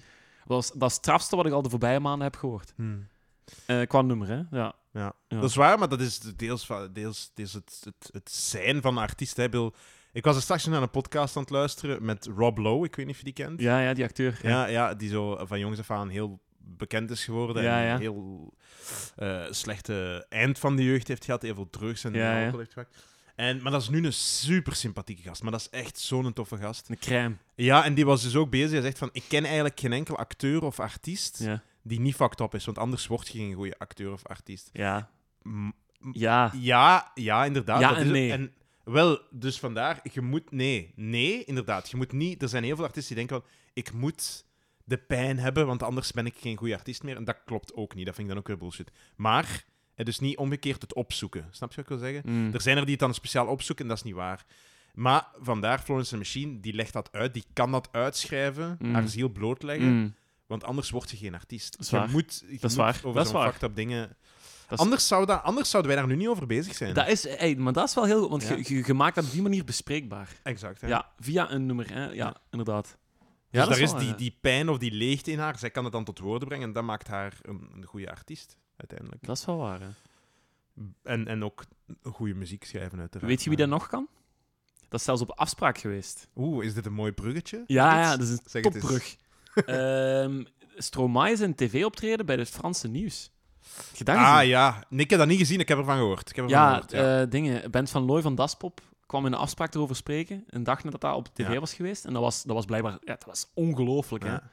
Speaker 2: dat is dat is het strafste wat ik al de voorbije maanden heb gehoord.
Speaker 1: Hmm.
Speaker 2: Eh, qua nummer, hè? Ja.
Speaker 1: Ja.
Speaker 2: Ja.
Speaker 1: dat is waar, maar dat is deels, van- deels, deels het, het, het zijn van de artiest. Hè. Ik bedoel, Ik was er straks naar een podcast aan het luisteren met Rob Lowe, ik weet niet of je die kent.
Speaker 2: Ja, ja, die acteur.
Speaker 1: Ja, ja, die zo van jongs af aan heel bekend is geworden.
Speaker 2: Ja,
Speaker 1: en
Speaker 2: ja.
Speaker 1: een heel eh, slechte eind van de jeugd heeft gehad. Heel veel drugs en
Speaker 2: Ja, ja.
Speaker 1: alcohol heeft gebruikt. En, maar dat is nu een super sympathieke gast. Maar dat is echt zo'n toffe gast.
Speaker 2: Een crème.
Speaker 1: Ja, en die was dus ook bezig. Hij zegt van, ik ken eigenlijk geen enkele acteur of artiest
Speaker 2: Ja.
Speaker 1: die niet fucked up is. Want anders word je geen goede acteur of artiest.
Speaker 2: Ja.
Speaker 1: M-
Speaker 2: Ja.
Speaker 1: ja, ja, inderdaad.
Speaker 2: Ah. Ja
Speaker 1: dat
Speaker 2: en
Speaker 1: is het.
Speaker 2: nee.
Speaker 1: En wel, dus vandaar, je moet... Nee, nee, inderdaad. Je moet niet... Er zijn heel veel artiesten die denken van... Ik moet de pijn hebben, want anders ben ik geen goede artiest meer. En dat klopt ook niet. Dat vind ik dan ook weer bullshit. Maar, eh, dus niet omgekeerd het opzoeken. Snap je wat ik wil zeggen?
Speaker 2: Mm.
Speaker 1: Er zijn er die het dan speciaal opzoeken en dat is niet waar. Maar vandaar, Florence and the Machine, die legt dat uit. Die kan dat uitschrijven,
Speaker 2: Mm.
Speaker 1: haar ziel blootleggen.
Speaker 2: Mm.
Speaker 1: Want anders word je geen artiest.
Speaker 2: Dat is
Speaker 1: je
Speaker 2: waar.
Speaker 1: moet, je
Speaker 2: is
Speaker 1: moet
Speaker 2: waar.
Speaker 1: over
Speaker 2: Dat is
Speaker 1: zo'n
Speaker 2: waar.
Speaker 1: fucked up dingen...
Speaker 2: Dat is-
Speaker 1: Anders, zou dat, anders zouden wij daar nu niet over bezig zijn.
Speaker 2: Dat is, hey, maar dat is wel heel goed, want
Speaker 1: Ja.
Speaker 2: je, je, je maakt dat op die manier bespreekbaar.
Speaker 1: Exact.
Speaker 2: Ja,
Speaker 1: Hè? Ja,
Speaker 2: via een nummer, hè? Ja,
Speaker 1: Ja.
Speaker 2: inderdaad.
Speaker 1: dus
Speaker 2: dat
Speaker 1: daar is
Speaker 2: wel,
Speaker 1: die,
Speaker 2: ja.
Speaker 1: die pijn of die leegte in haar. Zij kan het dan tot woorden brengen en dat maakt haar een, een goede artiest uiteindelijk.
Speaker 2: Dat is wel waar. hè.
Speaker 1: En, en ook goede muziek schrijven, uiteraard.
Speaker 2: Weet je wie
Speaker 1: Maar-
Speaker 2: dat nog kan? Dat is zelfs op afspraak geweest.
Speaker 1: Oeh, is dit een mooi bruggetje?
Speaker 2: Ja,
Speaker 1: Iets?
Speaker 2: ja, dat is een
Speaker 1: Zeg het eens. (laughs)
Speaker 2: topbrug. Ehm Stromae is een tv-optreden bij het Franse nieuws. Heb je dat gezien?
Speaker 1: Ah ja, nee, ik heb dat niet gezien, ik heb ervan gehoord. Ik heb ervan
Speaker 2: Ja,
Speaker 1: gehoord, ja.
Speaker 2: eh, dingen. Bent van Looy van Daspop kwam in een afspraak erover spreken. Een dag nadat dat op tv
Speaker 1: Ja.
Speaker 2: was geweest. En dat was, dat was blijkbaar... Ja, dat was ongelooflijk, hè.
Speaker 1: Ja.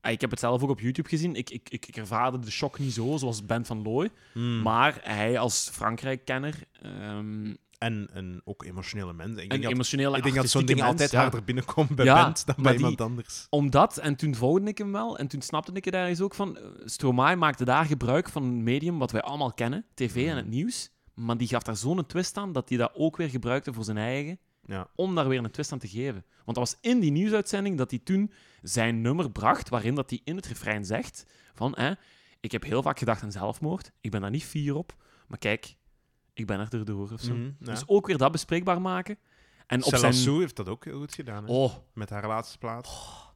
Speaker 2: Eh, Ik heb het zelf ook op YouTube gezien. Ik, ik, ik, ik ervaarde de shock niet zo, zoals Ben van Looy.
Speaker 1: Hmm.
Speaker 2: Maar hij als Frankrijk-kenner... ehm,
Speaker 1: En, en ook emotionele mensen. Ik
Speaker 2: een
Speaker 1: denk dat,
Speaker 2: emotioneel en
Speaker 1: ik denk dat zo'n
Speaker 2: artistieke
Speaker 1: ding
Speaker 2: mens,
Speaker 1: altijd
Speaker 2: ja.
Speaker 1: harder binnenkomt bij
Speaker 2: Ja,
Speaker 1: band dan
Speaker 2: maar
Speaker 1: bij
Speaker 2: die-
Speaker 1: iemand anders.
Speaker 2: Omdat, en toen volgde ik hem wel, en toen snapte ik het ergens ook van... eh, Stromae maakte daar gebruik van een medium wat wij allemaal
Speaker 1: Mhm.
Speaker 2: kennen, tv en het nieuws. Maar die gaf daar zo'n twist aan, dat hij dat ook weer gebruikte voor zijn eigen
Speaker 1: Ja.
Speaker 2: om daar weer een twist aan te geven. Want dat was in die nieuwsuitzending dat hij toen zijn nummer bracht, waarin dat hij in het refrein zegt van, hè, ik heb heel vaak gedacht aan zelfmoord, ik ben daar niet fier op, maar kijk, ik ben er erdoor of zo.
Speaker 1: Mhm, ja.
Speaker 2: Dus ook weer dat bespreekbaar maken. En op
Speaker 1: Stella
Speaker 2: zijn...
Speaker 1: Sue heeft dat ook heel goed gedaan. hè?
Speaker 2: Oh,
Speaker 1: Met haar laatste plaat.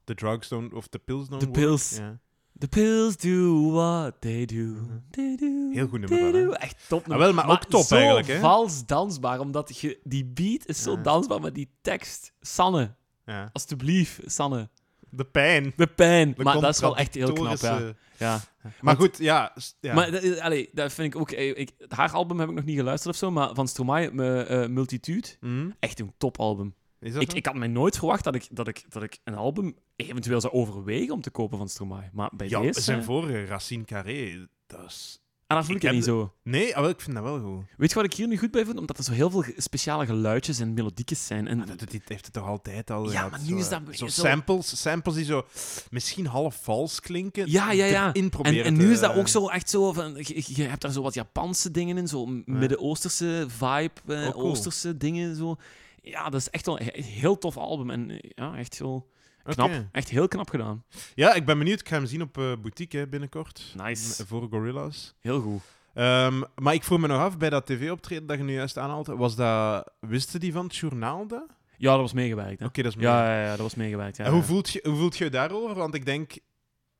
Speaker 1: The Drugs Don't... Of The Pills Don't
Speaker 2: The
Speaker 1: Work.
Speaker 2: Pills.
Speaker 1: Ja.
Speaker 2: the pills do what they do. They do.
Speaker 1: Mhm. Heel goed nummer
Speaker 2: they
Speaker 1: wel, hè?
Speaker 2: do. Echt top nummer.
Speaker 1: Ah, wel, maar ook top
Speaker 2: zo
Speaker 1: eigenlijk, hè?
Speaker 2: vals dansbaar, omdat je, die beat is zo
Speaker 1: Ja.
Speaker 2: dansbaar, maar die tekst... Sanne,
Speaker 1: Ja.
Speaker 2: alstublieft, Sanne.
Speaker 1: De pijn.
Speaker 2: De pijn.
Speaker 1: De
Speaker 2: maar dat is wel echt heel knap,
Speaker 1: contradictorische-
Speaker 2: ja. ja.
Speaker 1: Maar
Speaker 2: Want-
Speaker 1: goed, ja. s- ja.
Speaker 2: Maar dat, is- allee, dat vind ik ook... eh, Ik, haar album heb ik nog niet geluisterd of zo, maar van Stromae, eh, eh, Multitude,
Speaker 1: Mhm.
Speaker 2: echt een topalbum.
Speaker 1: Is dat
Speaker 2: Ik,
Speaker 1: zo?
Speaker 2: ik had mij nooit verwacht dat ik, dat, ik, dat ik een album eventueel zou overwegen om te kopen van Stromae. Maar bij
Speaker 1: ja,
Speaker 2: deze...
Speaker 1: zijn vorige, Racine Carré, dat is...
Speaker 2: En dat voel
Speaker 1: ik
Speaker 2: ik het
Speaker 1: ken
Speaker 2: niet
Speaker 1: de-
Speaker 2: zo.
Speaker 1: Nee, ah, wel, ik vind dat wel goed.
Speaker 2: Weet je wat ik hier nu goed bij vind? Omdat er zo heel veel ge- speciale geluidjes en melodiekjes zijn. En
Speaker 1: Maar dat doet hij- heeft het toch altijd al
Speaker 2: Ja,
Speaker 1: gehad,
Speaker 2: maar nu
Speaker 1: zo,
Speaker 2: is
Speaker 1: eh,
Speaker 2: dat weer
Speaker 1: Zo
Speaker 2: zo-
Speaker 1: samples, samples die zo misschien half vals klinken.
Speaker 2: Ja, ja, ja.
Speaker 1: erin
Speaker 2: En,
Speaker 1: proberen
Speaker 2: en nu
Speaker 1: te-
Speaker 2: is dat ook zo echt zo van... Je, je hebt daar zo wat Japanse dingen in, zo Midden-Oosterse vibe, eh,
Speaker 1: Oh, cool.
Speaker 2: Oosterse dingen, zo. Ja, dat is echt wel een heel tof album. En eh, ja, echt heel
Speaker 1: Oké.
Speaker 2: knap. Echt heel knap gedaan.
Speaker 1: Ja, ik ben benieuwd. Ik ga hem zien op eh, Boutique hè, binnenkort.
Speaker 2: Nice.
Speaker 1: M- Voor Gorillas.
Speaker 2: Heel goed.
Speaker 1: Ehm, maar ik vroeg me nog af, bij dat tv-optreden dat je nu juist aanhaalt, was dat... Wisten die van het journaal dat? Oké,
Speaker 2: Ja, dat was meegewerkt, hè.
Speaker 1: dat is mooi.
Speaker 2: Ja, ja, ja, dat was meegewerkt, ja.
Speaker 1: En hoe
Speaker 2: ja.
Speaker 1: voelt, je, hoe voelt je je daarover? Want ik denk...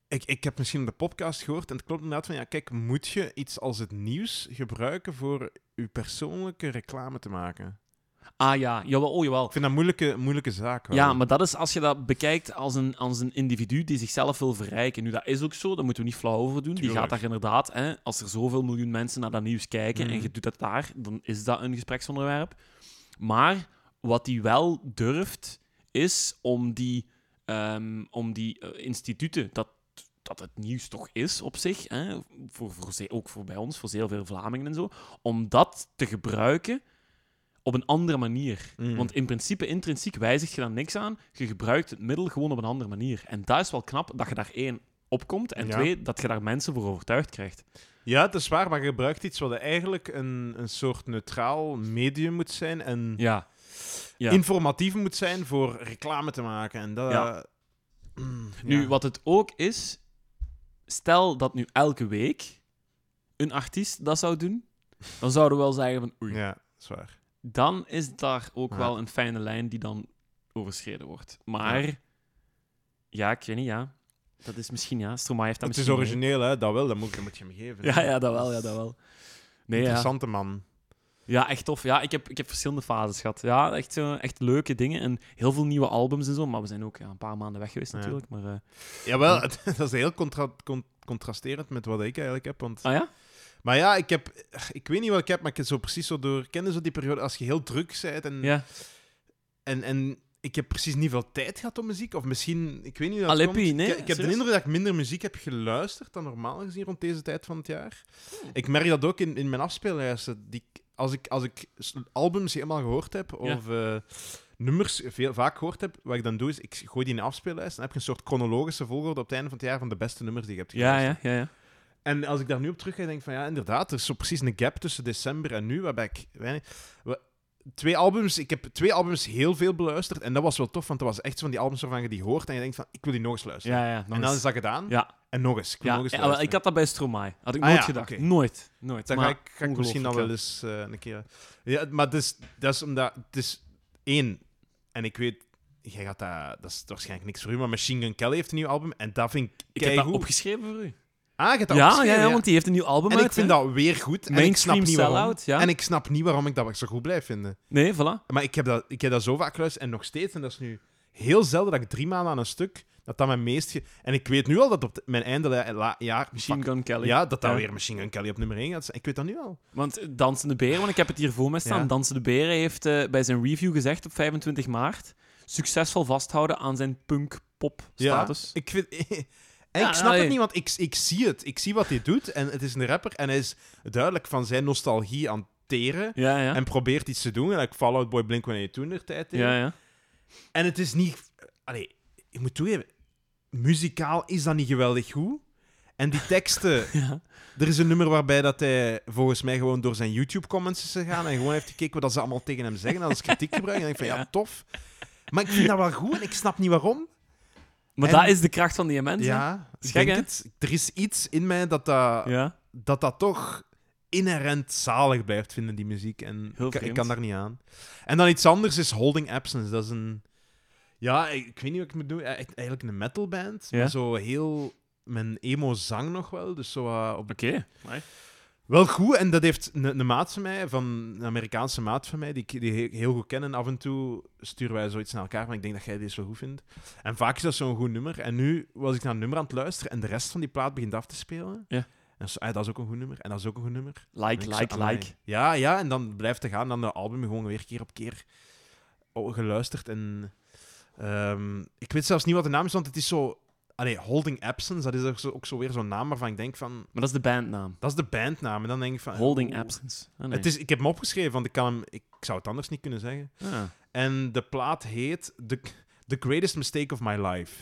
Speaker 1: Ik, ik heb misschien de podcast gehoord en het klopt inderdaad van... Ja, kijk, moet je iets als het nieuws gebruiken voor je persoonlijke reclame te maken?
Speaker 2: Ah ja, jawel, oh jawel.
Speaker 1: Ik vind dat een moeilijke, moeilijke zaak. wel.
Speaker 2: Ja, maar dat is als je dat bekijkt als een, als een individu die zichzelf wil verrijken. Nu, dat is ook zo, daar moeten we niet flauw over doen. Die
Speaker 1: Tuurlijk.
Speaker 2: gaat daar inderdaad, hè, als er zoveel miljoen mensen naar dat nieuws kijken
Speaker 1: Mhm.
Speaker 2: en je doet dat daar, dan is dat een gespreksonderwerp. Maar wat die wel durft, is om die, ehm, om die eh, instituten, dat, dat het nieuws toch is op zich, hè, voor, voor, ze- ook voor bij ons, voor heel veel Vlamingen en zo, om dat te gebruiken op een andere manier.
Speaker 1: Mm.
Speaker 2: Want in principe, intrinsiek wijzigt je daar niks aan. Je gebruikt het middel gewoon op een andere manier. En dat is wel knap dat je daar één opkomt. En
Speaker 1: Ja.
Speaker 2: twee, dat je daar mensen voor overtuigd krijgt.
Speaker 1: Ja, het is waar, maar je gebruikt iets wat eigenlijk een, een soort neutraal medium moet zijn en
Speaker 2: Ja. Ja.
Speaker 1: informatief moet zijn voor reclame te maken. En dat...
Speaker 2: Ja.
Speaker 1: Mm,
Speaker 2: Nu,
Speaker 1: ja.
Speaker 2: wat het ook is... Stel dat nu elke week een artiest dat zou doen. Dan zouden we wel zeggen van... Oei,
Speaker 1: Ja, dat is waar.
Speaker 2: dan is daar ook
Speaker 1: Ja.
Speaker 2: wel een fijne lijn die dan overschreden wordt. Maar... Ja, ik weet niet, ja. Dat is misschien, ja. Stromae heeft dat
Speaker 1: het is
Speaker 2: misschien...
Speaker 1: origineel, hè? Dat wel, dat moet, dat moet je hem geven.
Speaker 2: Ja, ja, dat wel, ja, dat wel. Nee, ja.
Speaker 1: Interessante man.
Speaker 2: Ja, echt tof. Ja, ik heb, ik heb verschillende fases gehad. Ja, echt, zo, echt leuke dingen en heel veel nieuwe albums en zo. Maar we zijn ook ja, een paar maanden weg geweest
Speaker 1: Ja.
Speaker 2: natuurlijk. Maar, eh,
Speaker 1: Jawel, het- (laughs) dat is heel contra- con- contrasterend met wat ik eigenlijk heb. Want...
Speaker 2: Ah ja?
Speaker 1: Maar ja, ik heb... Ik weet niet wat ik heb, maar ik heb zo precies zo door... Kennen zo die periode als je heel druk bent en,
Speaker 2: Ja.
Speaker 1: en, en ik heb precies niet veel tijd gehad om muziek. Of misschien... Ik weet niet hoe dat
Speaker 2: Aleppi,
Speaker 1: komt.
Speaker 2: nee,
Speaker 1: ik, ik heb de
Speaker 2: serieus?
Speaker 1: indruk dat ik minder muziek heb geluisterd dan normaal gezien rond deze tijd van het jaar.
Speaker 2: Oh.
Speaker 1: Ik merk dat ook in, in mijn afspeellijsten. Die, ik- als, ik, als ik s- albums helemaal gehoord heb, of eh, nummers veel, vaak gehoord heb, wat ik dan doe is, ik gooi die in een afspeellijst en heb je een soort chronologische volgorde op het einde van het jaar van de beste nummers die je hebt
Speaker 2: Ja,
Speaker 1: geluisterd.
Speaker 2: ja, ja, ja.
Speaker 1: En als ik daar nu op terugga, denk ik van ja, inderdaad, er is zo precies een gap tussen december en nu, waarbij ik weinig... wa- Twee albums, ik heb twee albums heel veel beluisterd en dat was wel tof, want dat was echt zo van die albums waarvan je die hoort en je denkt van, ik wil die nog eens luisteren.
Speaker 2: ja, ja nog
Speaker 1: en dan
Speaker 2: eens.
Speaker 1: is dat gedaan.
Speaker 2: Ja.
Speaker 1: En nog eens. Ik wil
Speaker 2: Ja,
Speaker 1: nog eens
Speaker 2: ja, wel,
Speaker 1: luisteren.
Speaker 2: ik had dat bij Stromae. Had ik
Speaker 1: Ah,
Speaker 2: nooit
Speaker 1: ja,
Speaker 2: gedacht.
Speaker 1: oké.
Speaker 2: Nooit. Nooit.
Speaker 1: Dan
Speaker 2: maar,
Speaker 1: ga ik, ga ik misschien dan wel eens eh, een keer... Ja, maar het is, dat is omdat... Het is één, en ik weet... Jij gaat dat... Dat is waarschijnlijk niks voor u, maar Machine Gun Kelly heeft een nieuw album en dat vind ik
Speaker 2: Ik heb dat
Speaker 1: keigoed.
Speaker 2: opgeschreven voor u.
Speaker 1: Ah, je hebt dat
Speaker 2: Ja, ja,
Speaker 1: opgeschreven,
Speaker 2: ja, want die heeft een nieuw album
Speaker 1: En
Speaker 2: uit.
Speaker 1: ik vind
Speaker 2: hè.
Speaker 1: dat weer goed. En ik snap
Speaker 2: Mainstream
Speaker 1: niet waarom.
Speaker 2: sell-out, ja.
Speaker 1: En ik snap niet waarom ik dat zo goed blijf vinden.
Speaker 2: Nee, voilà.
Speaker 1: Maar ik heb dat, ik heb dat zo vaak geluisterd en nog steeds. En dat is nu heel zelden dat ik drie maanden aan een stuk. Dat dat mijn meest. ge- En ik weet nu al dat op de- mijn einde la- la- jaar.
Speaker 2: Machine Gun Kelly.
Speaker 1: Ja, dat dat
Speaker 2: Ja.
Speaker 1: weer Machine Gun Kelly op nummer 1 gaat zijn. Ik weet dat nu al.
Speaker 2: Want eh, Dansende Beren, want ik heb het hier voor me staan.
Speaker 1: Ja.
Speaker 2: Dansende Beren heeft eh, bij zijn review gezegd op 25 maart... Succesvol vasthouden aan zijn punk-pop-status.
Speaker 1: Ja, ik vind. (laughs) En
Speaker 2: Ja,
Speaker 1: ik snap
Speaker 2: allee.
Speaker 1: het niet, want ik, ik zie het. Ik zie wat hij doet. En het is een rapper. En hij is duidelijk van zijn nostalgie aan het teren.
Speaker 2: Ja, ja.
Speaker 1: En probeert iets te doen. En ik Fall Out Boy Blink wanneer je toen de tijd deed.
Speaker 2: ja, ja.
Speaker 1: En het is niet. Allee, ik moet toegeven. Muzikaal is dat niet geweldig goed. En die
Speaker 2: (laughs)
Speaker 1: teksten.
Speaker 2: Ja.
Speaker 1: Er is een nummer waarbij dat hij volgens mij gewoon door zijn YouTube-comments is gegaan en gewoon heeft gekeken wat dat ze allemaal tegen hem zeggen. En dat is kritiek gebruiken. En ik denk van ja,
Speaker 2: Ja.
Speaker 1: tof. Maar ik vind dat wel goed en ik snap niet waarom.
Speaker 2: Maar
Speaker 1: En-
Speaker 2: dat is de kracht van die mensen. hè?
Speaker 1: Ja,
Speaker 2: is
Speaker 1: ik
Speaker 2: gek,
Speaker 1: denk
Speaker 2: hè?
Speaker 1: het. Er is iets in mij dat dat,
Speaker 2: ja.
Speaker 1: dat, dat toch inherent zalig blijft vinden, die muziek. En
Speaker 2: Heel
Speaker 1: ik, ik
Speaker 2: vreemd.
Speaker 1: kan daar niet aan. En dan iets anders is Holding Absence. Dat is een... Ja, ik, ik weet niet wat ik moet doen. Eigen- Eigenlijk een metalband.
Speaker 2: Ja.
Speaker 1: Maar zo heel... Mijn emo zang nog wel. Dus zo eh, op
Speaker 2: Oké. Amai.
Speaker 1: Wel goed, en dat heeft een, een maat van mij, van een Amerikaanse maat van mij, die ik die ik heel goed ken. En af en toe sturen wij zoiets naar elkaar, maar ik denk dat jij deze wel goed vindt. En vaak is dat zo'n goed nummer. En nu was ik naar een nummer aan het luisteren en de rest van die plaat begint af te spelen.
Speaker 2: Ja.
Speaker 1: En zo, ah, dat is ook een goed nummer, en dat is ook een goed nummer.
Speaker 2: Like,
Speaker 1: En ik
Speaker 2: like,
Speaker 1: zo, amai.
Speaker 2: like.
Speaker 1: Ja, ja, en dan blijft het gaan. Dan de album gewoon weer keer op keer o- geluisterd. En ehm, ik weet zelfs niet wat de naam is, want het is zo... Allee, Holding Absence, dat is ook zo, ook zo weer zo'n naam waarvan ik denk van...
Speaker 2: Maar dat is de bandnaam.
Speaker 1: Dat is de bandnaam. En dan denk ik van...
Speaker 2: Holding
Speaker 1: oeh.
Speaker 2: Absence. Ah, nee.
Speaker 1: Het is, ik heb hem opgeschreven, want ik, kan hem, ik zou het anders niet kunnen zeggen.
Speaker 2: Ah.
Speaker 1: En de plaat heet The, The Greatest Mistake of My Life.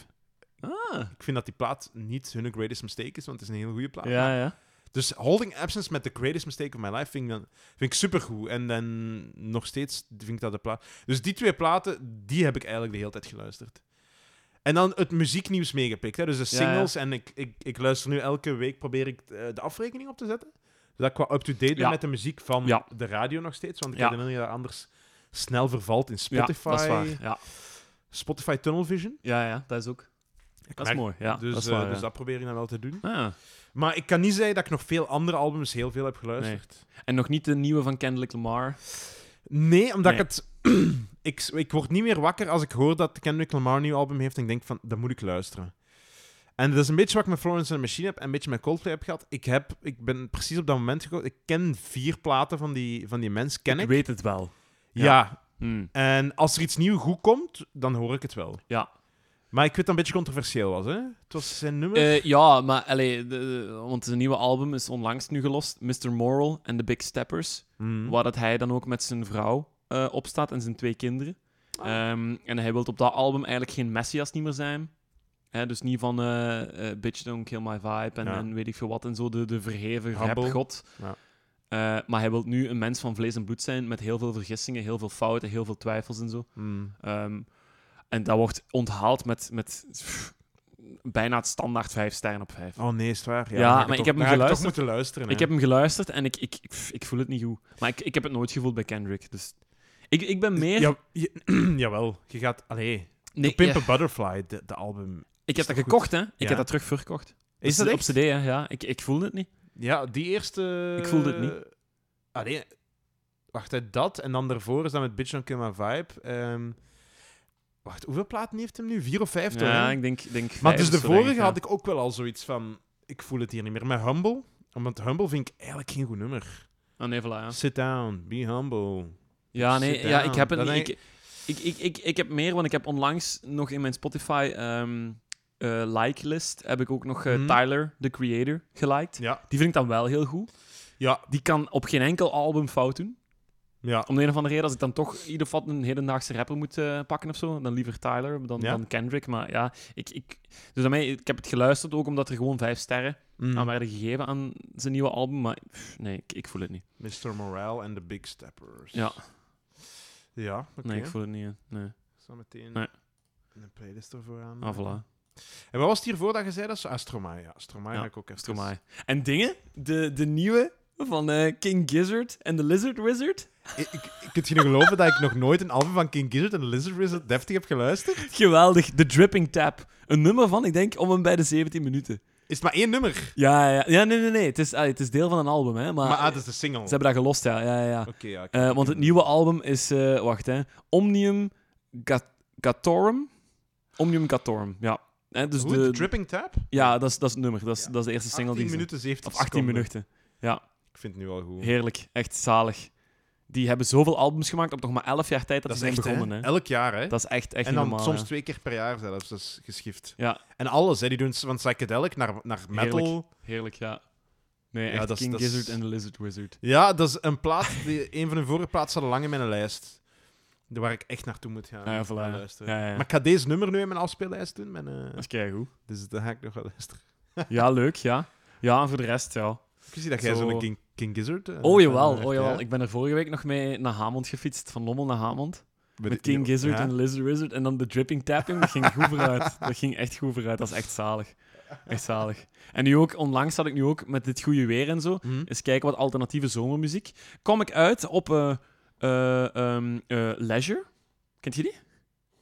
Speaker 2: Ah.
Speaker 1: Ik vind dat die plaat niet hun greatest mistake is, want het is een heel goede plaat.
Speaker 2: Ja, ja.
Speaker 1: Dus Holding Absence met The Greatest Mistake of My Life vind ik, dan, vind ik supergoed. En dan nog steeds vind ik dat de plaat... Dus die twee platen, die heb ik eigenlijk de hele tijd geluisterd. En dan het muzieknieuws meegepikt. Hè? Dus de
Speaker 2: Ja, ja.
Speaker 1: singles. En ik, ik, ik luister nu elke week, probeer ik eh, de afrekening op te zetten. Zodat ik qua up-to-date ben
Speaker 2: Ja.
Speaker 1: met de muziek van
Speaker 2: Ja.
Speaker 1: de radio nog steeds. Want ik
Speaker 2: Ja.
Speaker 1: herinner je dat anders snel vervalt in
Speaker 2: Ja,
Speaker 1: Spotify.
Speaker 2: dat is waar. Ja,
Speaker 1: Spotify Tunnel Vision.
Speaker 2: ja, ja dat is ook. Dat is
Speaker 1: merk-
Speaker 2: mooi. Ja,
Speaker 1: dus
Speaker 2: dat
Speaker 1: dat,
Speaker 2: is waar,
Speaker 1: dus
Speaker 2: ja.
Speaker 1: dat probeer ik dan wel te doen.
Speaker 2: Ah.
Speaker 1: Maar ik kan niet zeggen dat ik nog veel andere albums heel veel heb geluisterd.
Speaker 2: En nog niet de nieuwe van Kendrick Lamar.
Speaker 1: Nee, omdat
Speaker 2: Nee.
Speaker 1: ik het... (clears throat) ik, ik word niet meer wakker als ik hoor dat Kendrick Lamar een nieuw album heeft en ik denk van, dat moet ik luisteren. En dat is een beetje wat ik met Florence and the Machine heb en een beetje met Coldplay heb gehad. Ik, heb, ik ben precies op dat moment gekomen. Ik ken vier platen van die, van die mens, ken ik.
Speaker 2: weet het wel.
Speaker 1: ja.
Speaker 2: Hmm.
Speaker 1: en als er iets nieuws goed komt, dan hoor ik het wel.
Speaker 2: Ja.
Speaker 1: Maar ik weet dat het een beetje controversieel was, hè? Het was zijn nummer.
Speaker 2: Eh, ja, maar allee, de- de- want zijn nieuwe album is onlangs nu gelost. Mr. Moral en The Big Steppers.
Speaker 1: Mhm.
Speaker 2: Waar dat hij dan ook met zijn vrouw eh, opstaat en zijn twee kinderen.
Speaker 1: Ah.
Speaker 2: Ehm, en hij wil op dat album eigenlijk geen messias niet meer zijn. Hè, dus niet van eh, eh, Bitch Don't Kill My Vibe en,
Speaker 1: Ja.
Speaker 2: en weet ik veel wat en zo, de, de verheven
Speaker 1: Humble.
Speaker 2: rapgod.
Speaker 1: Ja.
Speaker 2: Eh, maar hij wil nu een mens van vlees en bloed zijn met heel veel vergissingen, heel veel fouten, heel veel twijfels en zo.
Speaker 1: Mhm.
Speaker 2: Ehm, en dat wordt onthaald met, met pff, bijna het standaard vijf sterren op vijf.
Speaker 1: Oh nee, is het waar?
Speaker 2: Ja,
Speaker 1: dan ga
Speaker 2: maar
Speaker 1: toch-
Speaker 2: ik heb hem
Speaker 1: dan ga toch
Speaker 2: geluisterd.
Speaker 1: moeten luisteren.
Speaker 2: Ik
Speaker 1: hè.
Speaker 2: heb hem geluisterd en ik, ik, ik, pff, ik voel het niet goed. Maar ik, ik heb het nooit gevoeld bij Kendrick. Dus ik, ik ben meer...
Speaker 1: Ja, je- (clears throat) jawel, je gaat... Allee...
Speaker 2: nee,
Speaker 1: Pimp
Speaker 2: ja,
Speaker 1: a Butterfly, de, de album.
Speaker 2: ik
Speaker 1: toch
Speaker 2: heb dat
Speaker 1: goed?
Speaker 2: gekocht, hè. Ik
Speaker 1: Ja.
Speaker 2: heb dat terug verkocht. Dus
Speaker 1: Is dat
Speaker 2: op
Speaker 1: echt?
Speaker 2: cd, hè. Ja, ik, ik voelde het niet.
Speaker 1: Ja, die eerste...
Speaker 2: Ik voelde het niet.
Speaker 1: Allee, wacht, hè, dat en dan daarvoor is dat met Bitch Don't Kill My Vibe. Ehm, wacht, hoeveel platen heeft hem nu? Vier of vijf, toch?
Speaker 2: ja,
Speaker 1: hè?
Speaker 2: ik denk,
Speaker 1: maar
Speaker 2: denk vijf
Speaker 1: dus
Speaker 2: of
Speaker 1: de
Speaker 2: zo, denk
Speaker 1: vorige
Speaker 2: ja.
Speaker 1: had ik ook wel al zoiets van... Ik voel het hier niet meer. Met Humble, want Humble vind ik eigenlijk geen goed nummer.
Speaker 2: Ah, nee, voilà, ja.
Speaker 1: Sit down, be humble.
Speaker 2: Ja, nee,
Speaker 1: Sit
Speaker 2: ja,
Speaker 1: down.
Speaker 2: ik heb het
Speaker 1: Dat
Speaker 2: niet. Ik, ik, ik, ik, ik heb meer, want ik heb onlangs nog in mijn Spotify ehm, eh, like list heb ik ook nog eh,
Speaker 1: Mhm.
Speaker 2: Tyler, the creator, geliked.
Speaker 1: Ja,
Speaker 2: Die vind ik dan wel heel goed.
Speaker 1: ja,
Speaker 2: Die kan op geen enkel album fout doen.
Speaker 1: ja.
Speaker 2: Om de een of andere reden, als ik dan toch ieder vat een hedendaagse rapper moet eh, pakken of zo, dan liever Tyler dan,
Speaker 1: Ja.
Speaker 2: dan Kendrick. Maar ja, ik, ik, dus daarmee, ik heb het geluisterd ook omdat er gewoon vijf sterren
Speaker 1: Mm.
Speaker 2: aan werden gegeven aan zijn nieuwe album. Maar pff, nee, ik, ik voel het niet.
Speaker 1: Mr. Morale and the Big Steppers.
Speaker 2: Ja.
Speaker 1: Ja, oké.
Speaker 2: Nee, ik voel het niet. hè. Nee.
Speaker 1: Zo meteen
Speaker 2: Nee.
Speaker 1: een playlist ervoor aan.
Speaker 2: Ah, voilà.
Speaker 1: En wat was het hiervoor dat je zei dat ze... Ah, Stromae, ja. Stromae
Speaker 2: Ja,
Speaker 1: ga ik ook even...
Speaker 2: Stromae. En dingen, de, de nieuwe van eh, King Gizzard en de Lizard Wizard.
Speaker 1: Ik, ik, ik kan je niet geloven dat ik nog nooit een album van King Gizzard en The Lizard Wizard deftig heb geluisterd.
Speaker 2: Geweldig, de Dripping Tap. Een nummer van, ik denk, om en bij de 17 minuten.
Speaker 1: Is het maar één nummer?
Speaker 2: Ja, ja, ja nee, nee, nee. Het is, ah, het is deel van een album, hè. Maar,
Speaker 1: Maar ah, het is de single.
Speaker 2: ze
Speaker 1: Oké,
Speaker 2: hebben dat gelost, ja. ja, ja, ja.
Speaker 1: ja. ik-
Speaker 2: Eh, want het nieuwe album is, eh, wacht, hè. Omnium Ga- Gatorum. Omnium Gatorum, ja. Hè, dus
Speaker 1: Hoe?
Speaker 2: de,
Speaker 1: de Dripping Tap?
Speaker 2: ja, dat is, dat is het nummer. Dat is,
Speaker 1: Ja.
Speaker 2: dat is de eerste single
Speaker 1: 18
Speaker 2: die ze...
Speaker 1: minuten 17
Speaker 2: Of 18
Speaker 1: seconden.
Speaker 2: minuten. Ja.
Speaker 1: Ik vind het nu al goed.
Speaker 2: Heerlijk, echt zalig. Die hebben zoveel albums gemaakt op nog maar 11 jaar tijd dat, ze zijn
Speaker 1: hè.
Speaker 2: begonnen. Hè?
Speaker 1: Elk jaar, hè?
Speaker 2: Dat is echt, echt eh,
Speaker 1: en
Speaker 2: niet
Speaker 1: dan
Speaker 2: normaal.
Speaker 1: soms
Speaker 2: ja.
Speaker 1: twee keer per jaar zelfs. Dat is geschift.
Speaker 2: Ja.
Speaker 1: En alles, hè. Die doen s- van psychedelic naar, naar metal.
Speaker 2: Heerlijk. Heerlijk, ja. Nee,
Speaker 1: Ja,
Speaker 2: echt
Speaker 1: dat is-
Speaker 2: King
Speaker 1: dat is-
Speaker 2: Gizzard en The Lizard Wizard.
Speaker 1: Ja, dat is een plaat... Die, een van hun vorige plaatsen zat lang in mijn lijst. Waar ik echt naartoe moet gaan.
Speaker 2: Ah, ja, voilà.
Speaker 1: gaan luisteren.
Speaker 2: Ja, ja, ja.
Speaker 1: Maar ik ga deze nummer nu in mijn afspeellijst doen. Mijn, eh,
Speaker 2: Dat is keigoed.
Speaker 1: Dus dat ga ik nog wel luisteren.
Speaker 2: Ja, leuk, ja. Ja, en voor de rest, ja.
Speaker 1: Ik zie dat jij
Speaker 2: Zo.
Speaker 1: zo'n King, King Gizzard... eh,
Speaker 2: Oh jawel,
Speaker 1: fan
Speaker 2: oh
Speaker 1: werd,
Speaker 2: jawel.
Speaker 1: ja.
Speaker 2: Ik ben er vorige week nog mee naar Hamond gefietst, van Lommel naar Hamond.
Speaker 1: Met-
Speaker 2: Met King Gizzard
Speaker 1: ja.
Speaker 2: en Lizard Wizard en dan de Dripping Tapping. Dat ging goed vooruit. Dat ging echt goed vooruit. Dat is echt zalig. Echt zalig. En nu ook, onlangs had ik nu ook met dit goede weer en zo,
Speaker 1: Mhm.
Speaker 2: eens kijken wat alternatieve zomermuziek. Kom ik uit op eh, eh, ehm, eh, Leisure. Kent je die?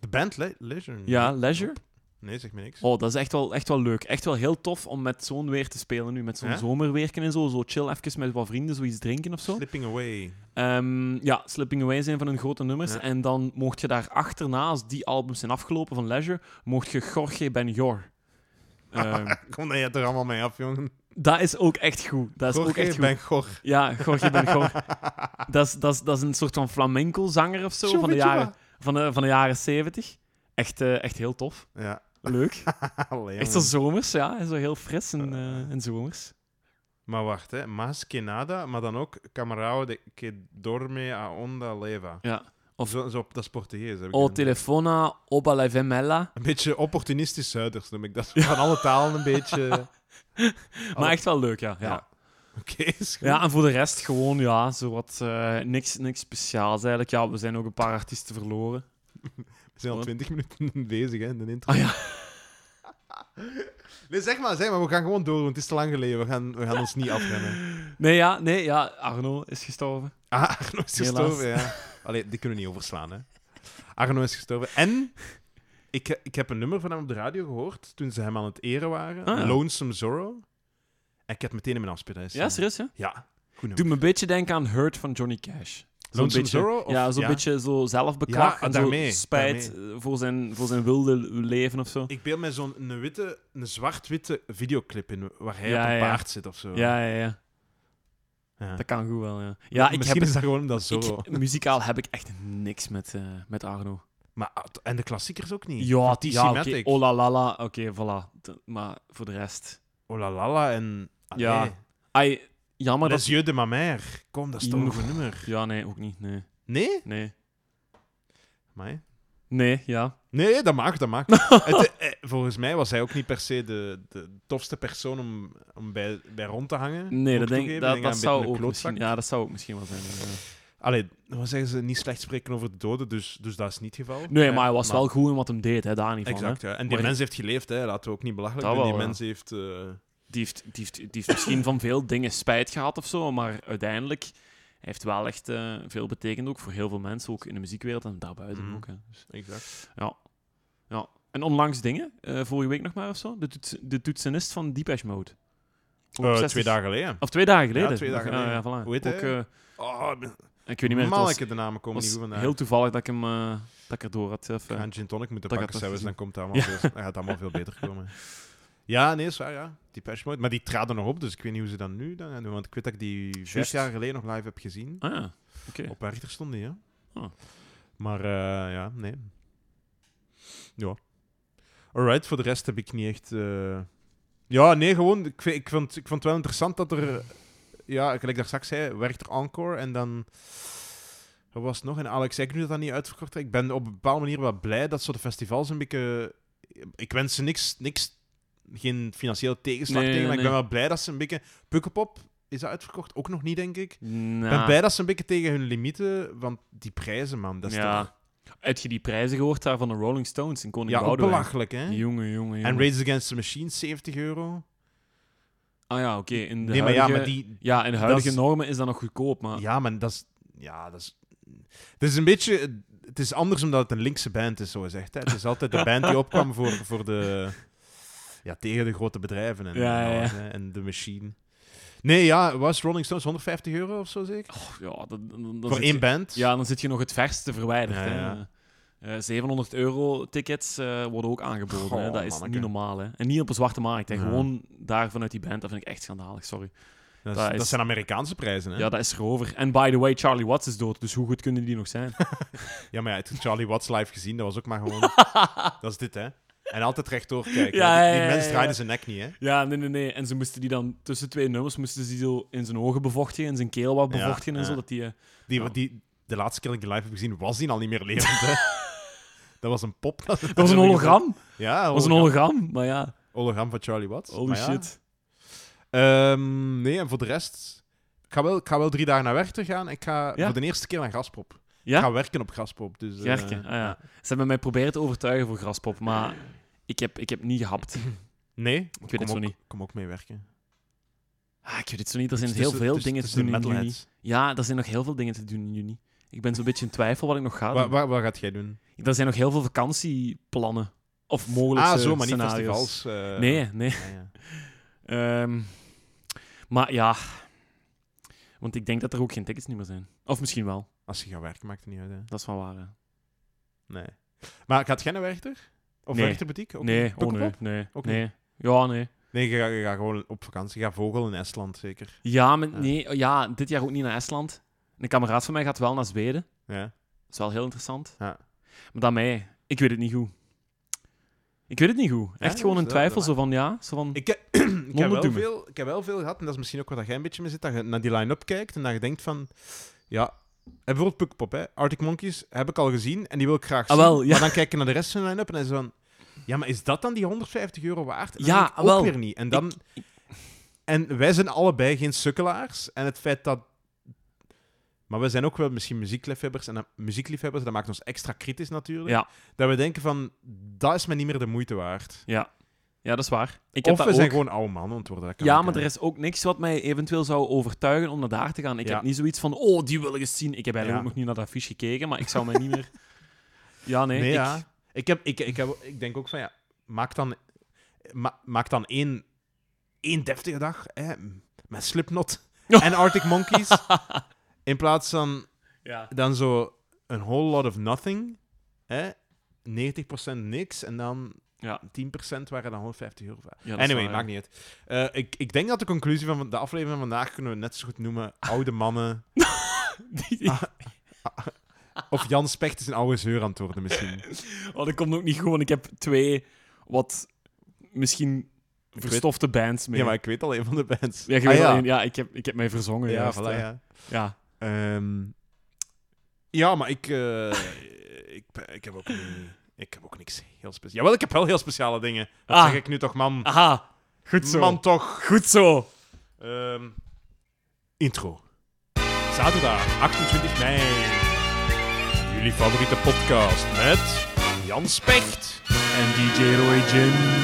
Speaker 1: De band Le- Leisure?
Speaker 2: Ja, Leisure.
Speaker 1: Nee, zeg me niks.
Speaker 2: Oh, dat is echt wel, echt wel leuk. Echt wel heel tof om met zo'n weer te spelen nu. Met zo'n
Speaker 1: Ja?
Speaker 2: zomerweerken en zo. Zo chill even met wat vrienden, zoiets drinken of zo.
Speaker 1: Slipping Away.
Speaker 2: Ehm, ja, Slipping Away zijn van hun grote nummers.
Speaker 1: Ja.
Speaker 2: En dan mocht je daar achterna, als die albums zijn afgelopen van Leisure, mocht je Jorge Benjor.
Speaker 1: (laughs)
Speaker 2: Ehm
Speaker 1: Kom dan jij er allemaal mee af, jongen.
Speaker 2: dat is ook echt goed. Dat is ook
Speaker 1: Jorge
Speaker 2: echt goed.
Speaker 1: Ben Gogh.
Speaker 2: Ja, Jorge Benjor. dat, is, dat, is, dat is een soort van flamenco-zanger of zo van de,
Speaker 1: Chupa
Speaker 2: jaren, van, de, van de jaren 70. Echt, eh, echt heel tof.
Speaker 1: Ja. (laughs)
Speaker 2: Leuk.
Speaker 1: Allee,
Speaker 2: Echt zo
Speaker 1: jongen.
Speaker 2: zomers, ja. Zo heel fris en, eh, en zomers.
Speaker 1: Maar wacht, hè. Mas que nada, maar dan ook Camarao de que dorme a onda leva.
Speaker 2: Ja. Oh,
Speaker 1: Of zo, zo, dat is Portugees. Heb ik
Speaker 2: O
Speaker 1: een-
Speaker 2: telefona, oba la vemella.
Speaker 1: Een beetje opportunistisch Zuiders noem ik
Speaker 2: (laughs)
Speaker 1: dat. Van alle talen een beetje...
Speaker 2: Maar echt wel leuk, ja. ja.
Speaker 1: Ja. Oké, is goed.
Speaker 2: Oh. Ja, en voor de rest gewoon, ja, zowat eh niks, niks speciaals eigenlijk. Ja, we zijn ook een paar artiesten verloren.
Speaker 1: We zijn al
Speaker 2: Wat?
Speaker 1: twintig minuten (laughs) bezig, hè, in de intro.
Speaker 2: Ah ja,
Speaker 1: Nee, zeg maar, zeg maar, we gaan gewoon door, want het is te lang geleden. We gaan, we gaan ons niet
Speaker 2: (laughs)
Speaker 1: afrennen.
Speaker 2: nee, ja, nee, ja, Arno is gestorven.
Speaker 1: Ah, Arno is
Speaker 2: Helaas.
Speaker 1: gestorven, ja. Allee, die kunnen we niet overslaan, hè. Arno is gestorven. En ik, ik heb een nummer van hem op de radio gehoord, toen ze hem aan het eren waren.
Speaker 2: Ah, ja.
Speaker 1: Lonesome Zorro. En ik heb meteen in mijn afspeellijst.
Speaker 2: Ja, serieus, hè?
Speaker 1: Ja. Goed
Speaker 2: Doe
Speaker 1: nummer.
Speaker 2: me een beetje denken aan Hurt van Johnny Cash. Zo'n
Speaker 1: Lonesome
Speaker 2: beetje,
Speaker 1: Zorro, of-
Speaker 2: ja, zo'n
Speaker 1: ja.
Speaker 2: beetje zo zelfbeklag
Speaker 1: Ja,
Speaker 2: en
Speaker 1: daarmee,
Speaker 2: zo spijt eh, Voor, zijn, voor zijn wilde leven of zo.
Speaker 1: Ik beeld mij zo'n een witte, een zwart-witte videoclip in, waar hij
Speaker 2: Ja,
Speaker 1: op een
Speaker 2: ja.
Speaker 1: paard zit of zo.
Speaker 2: Ja, Ah, ja, ja.
Speaker 1: Ja.
Speaker 2: Dat kan goed wel, ja. Ja, ik
Speaker 1: Misschien
Speaker 2: heb,
Speaker 1: is dat gewoon dat
Speaker 2: ik-
Speaker 1: Zorro.
Speaker 2: muzikaal heb ik echt niks met, eh, met Arno.
Speaker 1: Maar, at- en de klassiekers ook niet.
Speaker 2: Ja,
Speaker 1: Van
Speaker 2: die
Speaker 1: TC
Speaker 2: ja, oké.
Speaker 1: Matic.
Speaker 2: Oh la la la, oké, voilà. De- maar voor de rest...
Speaker 1: Oh Olalala en...
Speaker 2: Ja,
Speaker 1: Ja,
Speaker 2: Ai, jammer
Speaker 1: maar
Speaker 2: dat
Speaker 1: Les Yeux de ma mère. Kom, dat is toch
Speaker 2: Oeh.
Speaker 1: een goed nummer.
Speaker 2: Ja, nee, ook niet. Nee.
Speaker 1: Nee?
Speaker 2: Nee.
Speaker 1: Amai.
Speaker 2: Nee, ja.
Speaker 1: Nee, dat maakt, dat
Speaker 2: (laughs)
Speaker 1: maakt. Het, eh, eh, volgens mij was hij ook niet per se de, de tofste persoon om, om bij, bij rond te hangen. Moet
Speaker 2: Nee, dat, denk,
Speaker 1: toegeven.
Speaker 2: dat,
Speaker 1: Ik
Speaker 2: dat
Speaker 1: aan een
Speaker 2: zou
Speaker 1: beetje
Speaker 2: ook
Speaker 1: een klootzak.
Speaker 2: misschien, ja, dat zou ook misschien wel zijn. ja.
Speaker 1: Allee, wat zeggen ze? Niet slecht spreken over de doden, dus, dus dat is niet het geval.
Speaker 2: Nee,
Speaker 1: Ja,
Speaker 2: maar hij was wel goed in wat hem deed, hè, daar niet van. Hè.
Speaker 1: Exact, ja. En die
Speaker 2: Maar-
Speaker 1: mens heeft geleefd, hè. laten we ook niet belachelijk
Speaker 2: Dat
Speaker 1: doen. Die
Speaker 2: wel, ja.
Speaker 1: mens heeft... eh,
Speaker 2: Die, heeft, die, heeft, die heeft misschien van veel dingen spijt gehad of zo, maar uiteindelijk hij heeft wel echt eh, veel betekend ook voor heel veel mensen, ook in de muziekwereld en daarbuiten
Speaker 1: Mhm.
Speaker 2: ook. Hè. Dus,
Speaker 1: exact.
Speaker 2: ja. ja. En onlangs dingen, eh, vorige week nog maar of zo, de, toets, de toetsenist van Depeche Mode. Ook
Speaker 1: Eh,
Speaker 2: 60
Speaker 1: twee dagen geleden.
Speaker 2: Of twee dagen geleden.
Speaker 1: twee dagen
Speaker 2: Ja, ja,
Speaker 1: geleden.
Speaker 2: voilà.
Speaker 1: Hoe heet
Speaker 2: ook,
Speaker 1: hij?
Speaker 2: eh,
Speaker 1: Oh,
Speaker 2: ik weet niet meer, het was-
Speaker 1: manneke, de namen komen niet
Speaker 2: was
Speaker 1: goed vandaag.
Speaker 2: heel toevallig dat ik hem eh, dat ik erdoor had. Of, eh,
Speaker 1: gaan gin tonic moeten pakken,
Speaker 2: Dat ik had dat
Speaker 1: zelfs, dan, komt het allemaal veel, dan gaat het allemaal veel beter komen. Ja, nee, is waar, ja. Die Pesh Mode. Maar die traden nog op, dus ik weet niet hoe ze dat nu dan gaan doen. Want ik weet dat ik die vijf
Speaker 2: Juist.
Speaker 1: jaar geleden nog live heb gezien.
Speaker 2: Ah, ja. Oké.
Speaker 1: Op Richter stond die, ja.
Speaker 2: Ah.
Speaker 1: Maar eh, ja, nee. Ja. Alright, voor de rest heb ik niet echt... eh, Ja, nee, gewoon... Ik, vind- ik, vond, ik vond het wel interessant dat er... Ja, gelijk daar straks zei, werkt er Encore en dan... Er was nog een Alex Agnew dat dat niet uitverkocht werd. Ik ben op een bepaalde manier wel blij dat soort festivals een beetje... Ik wens ze niks... niks geen financiële tegenslag
Speaker 2: Nee,
Speaker 1: tegen, maar
Speaker 2: nee.
Speaker 1: ik ben wel blij dat ze een beetje... Pukkelpop is dat uitverkocht? Ook nog niet, denk ik. Ik ben
Speaker 2: Nou,
Speaker 1: blij dat ze een beetje tegen hun limieten, want die prijzen, man, dat is
Speaker 2: ja.
Speaker 1: toch...
Speaker 2: Heb je die prijzen gehoord daar van de Rolling Stones in Koning
Speaker 1: Ja, ook
Speaker 2: Boudewijn?
Speaker 1: belachelijk, hè?
Speaker 2: Jongen, jongen,
Speaker 1: En
Speaker 2: jongen.
Speaker 1: Raids Against the Machine, 70 euro.
Speaker 2: Ah ja, oké. in de
Speaker 1: nee, maar ja,
Speaker 2: huidige... Ah.
Speaker 1: maar die...
Speaker 2: Ja, in de huidige
Speaker 1: dat is-
Speaker 2: normen is dat nog goedkoop, maar...
Speaker 1: Ja, maar dat is... Ja, dat is... Het is een beetje... Het is anders omdat het een linkse band is, zo gezegd. Hè? Het is altijd
Speaker 2: (laughs)
Speaker 1: de band die opkwam voor, voor de... Ja, tegen de grote bedrijven en,
Speaker 2: Ja,
Speaker 1: en
Speaker 2: ja,
Speaker 1: alles, hè, en de machine. Nee, ja, was Rolling Stones 150 euro of zo, zeker?
Speaker 2: Pff, ja, dat, dat- dat
Speaker 1: voor
Speaker 2: zit
Speaker 1: één
Speaker 2: je-
Speaker 1: band?
Speaker 2: Ja, dan zit je nog het verste verwijderd.
Speaker 1: Ja,
Speaker 2: hè.
Speaker 1: ja.
Speaker 2: Eh, 700 euro tickets eh, worden ook aangeboden. hè.
Speaker 1: Goh,
Speaker 2: Dat is
Speaker 1: manneke.
Speaker 2: niet normaal. Hè. En niet op een zwarte markt. Hè.
Speaker 1: Ja.
Speaker 2: Gewoon daar vanuit die band. Dat vind ik echt schandalig, sorry.
Speaker 1: dat, is-
Speaker 2: dat is-
Speaker 1: dat zijn Amerikaanse prijzen, hè?
Speaker 2: Ja, dat is erover. En by the way, Charlie Watts is dood. Dus hoe goed kunnen die nog zijn?
Speaker 1: (laughs) Ja, maar ja, ik heb Charlie Watts live gezien, dat was ook maar gewoon...
Speaker 2: (laughs)
Speaker 1: dat is dit, hè. En altijd rechtdoor kijken.
Speaker 2: Ja,
Speaker 1: hè. die,
Speaker 2: ja, ja,
Speaker 1: die mens
Speaker 2: ja,
Speaker 1: draaide
Speaker 2: ja.
Speaker 1: zijn nek niet, hè.
Speaker 2: Ja, nee, nee, nee. En ze moesten die dan tussen twee nummers moesten ze die zo in zijn ogen bevochtigen, in zijn keel wat
Speaker 1: Ja,
Speaker 2: bevochtigen en
Speaker 1: ja.
Speaker 2: zo. Dat die, eh,
Speaker 1: Die,
Speaker 2: Ja.
Speaker 1: die, de laatste keer dat ik die live heb gezien, was die al niet meer
Speaker 2: (laughs)
Speaker 1: levend, hè. Dat was een pop.
Speaker 2: Dat was een hologram.
Speaker 1: Ja,
Speaker 2: Dat was een hologram, (laughs) maar ja.
Speaker 1: hologram van Charlie Watts.
Speaker 2: Holy
Speaker 1: Maar ja.
Speaker 2: shit.
Speaker 1: Ehm, nee, en voor de rest... Ik ga, wel, ik ga wel drie dagen naar Werchter gaan. en Ik ga
Speaker 2: Ja.
Speaker 1: voor de eerste keer naar Graspop.
Speaker 2: Ja?
Speaker 1: Ik ga werken op Graspop. Dus, eh,
Speaker 2: Gerke, ah ja. Ze hebben mij proberen te overtuigen voor Graspop, maar ik heb, ik heb niet gehapt.
Speaker 1: (laughs) Nee, ik
Speaker 2: weet het zo
Speaker 1: ook,
Speaker 2: niet.
Speaker 1: Kom ook mee werken.
Speaker 2: Ah, ik weet het zo niet. Er zijn
Speaker 1: Dus
Speaker 2: heel
Speaker 1: tussen-
Speaker 2: veel
Speaker 1: tussen-
Speaker 2: dingen te
Speaker 1: tussen
Speaker 2: doen
Speaker 1: de
Speaker 2: in juni.
Speaker 1: metalheads.
Speaker 2: Ja, er zijn nog heel veel dingen te doen in juni. Ik ben zo'n beetje in twijfel wat ik nog ga doen.
Speaker 1: Waar, waar, waar gaat jij doen? Ah,
Speaker 2: Er zijn nog heel veel vakantieplannen. Of mogelijke
Speaker 1: ah, zo, maar niet
Speaker 2: scenario's.
Speaker 1: festivals. eh,
Speaker 2: Nee, nee.
Speaker 1: ja, ja.
Speaker 2: Ehm, maar ja... Want ik denk dat er ook geen tickets niet meer zijn. Of misschien wel.
Speaker 1: Als je gaat werken, maakt het niet uit. Hè.
Speaker 2: Dat is wel waar. hè.
Speaker 1: Nee. Maar gaat jij naar Werchter? Of
Speaker 2: Nee.
Speaker 1: Werchterboutique? Ook
Speaker 2: nee,
Speaker 1: niet?
Speaker 2: oh nee,
Speaker 1: Pukkelpop?
Speaker 2: nee,
Speaker 1: Ook
Speaker 2: nee. Ja, nee.
Speaker 1: Nee, je gaat, je gaat gewoon op vakantie. Je gaat vogel in Estland, zeker.
Speaker 2: Ja, maar
Speaker 1: Ja.
Speaker 2: nee, ja, dit jaar ook niet naar Estland. Een kameraad van mij gaat wel naar Zweden.
Speaker 1: Ja.
Speaker 2: Dat is wel heel interessant.
Speaker 1: Ja.
Speaker 2: Maar dan mij, ik weet het niet goed. Ik weet het niet goed. Echt
Speaker 1: ja,
Speaker 2: gewoon
Speaker 1: dat
Speaker 2: een
Speaker 1: is wel-
Speaker 2: twijfel,
Speaker 1: dat
Speaker 2: zo van ja. Zo van, (clears throat)
Speaker 1: Ik, heb- (clears throat) ik, heb wel
Speaker 2: Mondedoemen.
Speaker 1: veel, ik heb wel veel gehad, en dat is misschien ook wat jij een beetje mee zit, dat je naar die line-up kijkt en dat je denkt van... Ja, en bijvoorbeeld Pukkelpop, hè. Arctic Monkeys heb ik al gezien en die wil ik graag
Speaker 2: Ah,
Speaker 1: zien.
Speaker 2: wel, ja.
Speaker 1: Maar dan kijk je naar de rest van de line-up en dan is het van... Ja, maar is dat dan die 150 euro waard? En dan
Speaker 2: Ja,
Speaker 1: denk ik ook
Speaker 2: wel.
Speaker 1: weer niet. En, dan, en wij zijn allebei geen sukkelaars. En het feit dat... Maar we zijn ook wel misschien muziekliefhebbers. En dat, muziekliefhebbers, dat maakt ons extra kritisch natuurlijk.
Speaker 2: Ja.
Speaker 1: Dat we denken van, dat is me niet meer de moeite waard.
Speaker 2: ja. ja, dat is waar. Ik heb
Speaker 1: Of we
Speaker 2: dat
Speaker 1: zijn
Speaker 2: ook.
Speaker 1: gewoon oude mannen ontwoorden.
Speaker 2: Ja, maar er is ook niks wat mij eventueel zou overtuigen om naar daar te gaan. Ik
Speaker 1: Ja.
Speaker 2: heb niet zoiets van, oh, die wil ik eens zien. Ik heb eigenlijk
Speaker 1: Ja.
Speaker 2: ook nog niet naar dat affiche gekeken, maar ik zou mij niet (laughs) meer... Ja, nee.
Speaker 1: Nee,
Speaker 2: ik...
Speaker 1: ja. Ik, heb, ik, ik, heb, ik denk ook van ja, maak dan, ma- maak dan één, één deftige dag hè, met
Speaker 2: (laughs)
Speaker 1: Slipknot en Arctic Monkeys. In plaats van
Speaker 2: Ja.
Speaker 1: dan zo een whole lot of nothing. Hè, 90% niks en dan
Speaker 2: Ja.
Speaker 1: 10% waren dan 150 euro.
Speaker 2: Ja, dat is
Speaker 1: anyway,
Speaker 2: waar,
Speaker 1: maakt niet uit. Eh, ik, ik denk dat de conclusie van de aflevering van vandaag kunnen we net zo goed noemen: oude mannen.
Speaker 2: (laughs)
Speaker 1: Ah, ah, of Jan Specht is een oude zeur aan het worden misschien.
Speaker 2: Oh, dat komt ook niet goed, want ik heb twee wat misschien
Speaker 1: weet-
Speaker 2: verstofte bands mee.
Speaker 1: Ja, maar ik weet al een van de bands.
Speaker 2: Ja, je
Speaker 1: Ah,
Speaker 2: weet
Speaker 1: ja.
Speaker 2: alleen- ja, ik, heb, ik heb mij verzongen.
Speaker 1: Ja,
Speaker 2: juist,
Speaker 1: voilà,
Speaker 2: hè.
Speaker 1: ja.
Speaker 2: ja.
Speaker 1: Ehm, ja, maar ik, eh, ik, ik, heb ook niet, ik heb ook niks heel speciaals. Jawel, ik heb wel heel speciale dingen. Dat
Speaker 2: Ah.
Speaker 1: zeg ik nu toch, man.
Speaker 2: Aha, goed zo.
Speaker 1: Man, toch.
Speaker 2: Goed zo.
Speaker 1: Ehm, intro. Zaterdag, 28 mei. Jullie favoriete podcast met Jan Specht.
Speaker 2: En DJ Roy Jim.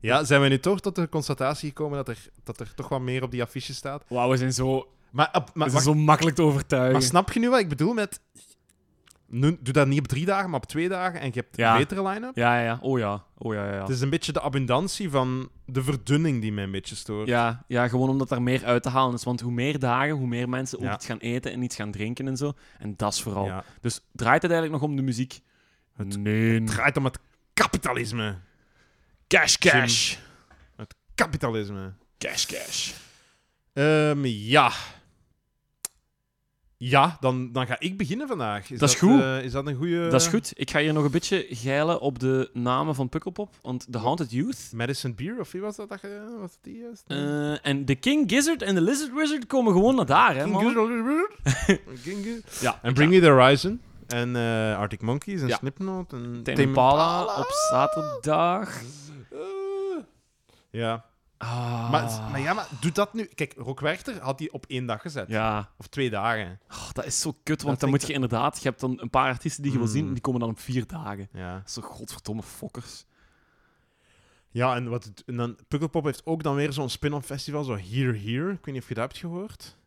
Speaker 1: Ja, zijn we nu toch tot de constatatie gekomen dat er, dat er toch wat meer op die affiche staat?
Speaker 2: Wauw, we zijn zo,
Speaker 1: Maar, op- maar
Speaker 2: we zijn
Speaker 1: wacht,
Speaker 2: zo makkelijk te overtuigen.
Speaker 1: Maar snap je nu wat ik bedoel met... Nu, doe dat niet op drie dagen, maar op twee dagen en je hebt
Speaker 2: Ja.
Speaker 1: een betere line-up.
Speaker 2: Ja, ja, ja. Oh ja. Oh ja, ja, ja.
Speaker 1: Het is een beetje de abundantie van de verdunning die mij een beetje stoort.
Speaker 2: Ja, ja, gewoon omdat er meer uit te halen is. Want hoe meer dagen, hoe meer mensen ook
Speaker 1: Ja.
Speaker 2: iets gaan eten en iets gaan drinken en zo. En dat is vooral.
Speaker 1: Ja.
Speaker 2: Dus draait het eigenlijk nog om de muziek?
Speaker 1: Het
Speaker 2: nee.
Speaker 1: Het draait om het kapitalisme.
Speaker 2: Cash,
Speaker 1: cash. Het kapitalisme.
Speaker 2: Cash, cash.
Speaker 1: Ehm, ja. Ja, dan, dan ga ik beginnen vandaag. Is
Speaker 2: Dat is goed.
Speaker 1: eh, is dat een goede...
Speaker 2: Dat is goed. Ik ga hier nog een beetje geilen op de namen van Pukkelpop. Want The Haunted Youth
Speaker 1: Madison Beer, of wie was dat? dat je- was dat die juist?
Speaker 2: eh, en The King Gizzard en The Lizard Wizard komen gewoon naar daar, hè,
Speaker 1: King
Speaker 2: man.
Speaker 1: Gizzard. (laughs) King Gizzard.
Speaker 2: Ja,
Speaker 1: En Bring Me The Horizon. En eh, Arctic Monkeys en
Speaker 2: Ja.
Speaker 1: Slipknot. En
Speaker 2: Tame Impala op zaterdag.
Speaker 1: Eh, ja.
Speaker 2: Ah.
Speaker 1: Maar, maar ja, maar doe dat nu. Kijk, Rock Werchter had die op één dag gezet.
Speaker 2: Ja,
Speaker 1: Of twee dagen.
Speaker 2: Oh, dat is zo kut, want
Speaker 1: vind
Speaker 2: dan
Speaker 1: ik-
Speaker 2: moet je inderdaad... Je hebt dan een paar artiesten die je wil zien
Speaker 1: Mm.
Speaker 2: en die komen dan op vier dagen.
Speaker 1: Ja,
Speaker 2: Dat is zo godverdomme fokkers.
Speaker 1: ja en, wat, het- en dan, Pukkelpop heeft ook dan weer zo'n spin-off festival, zo Here Here. Ik weet niet of je dat hebt gehoord.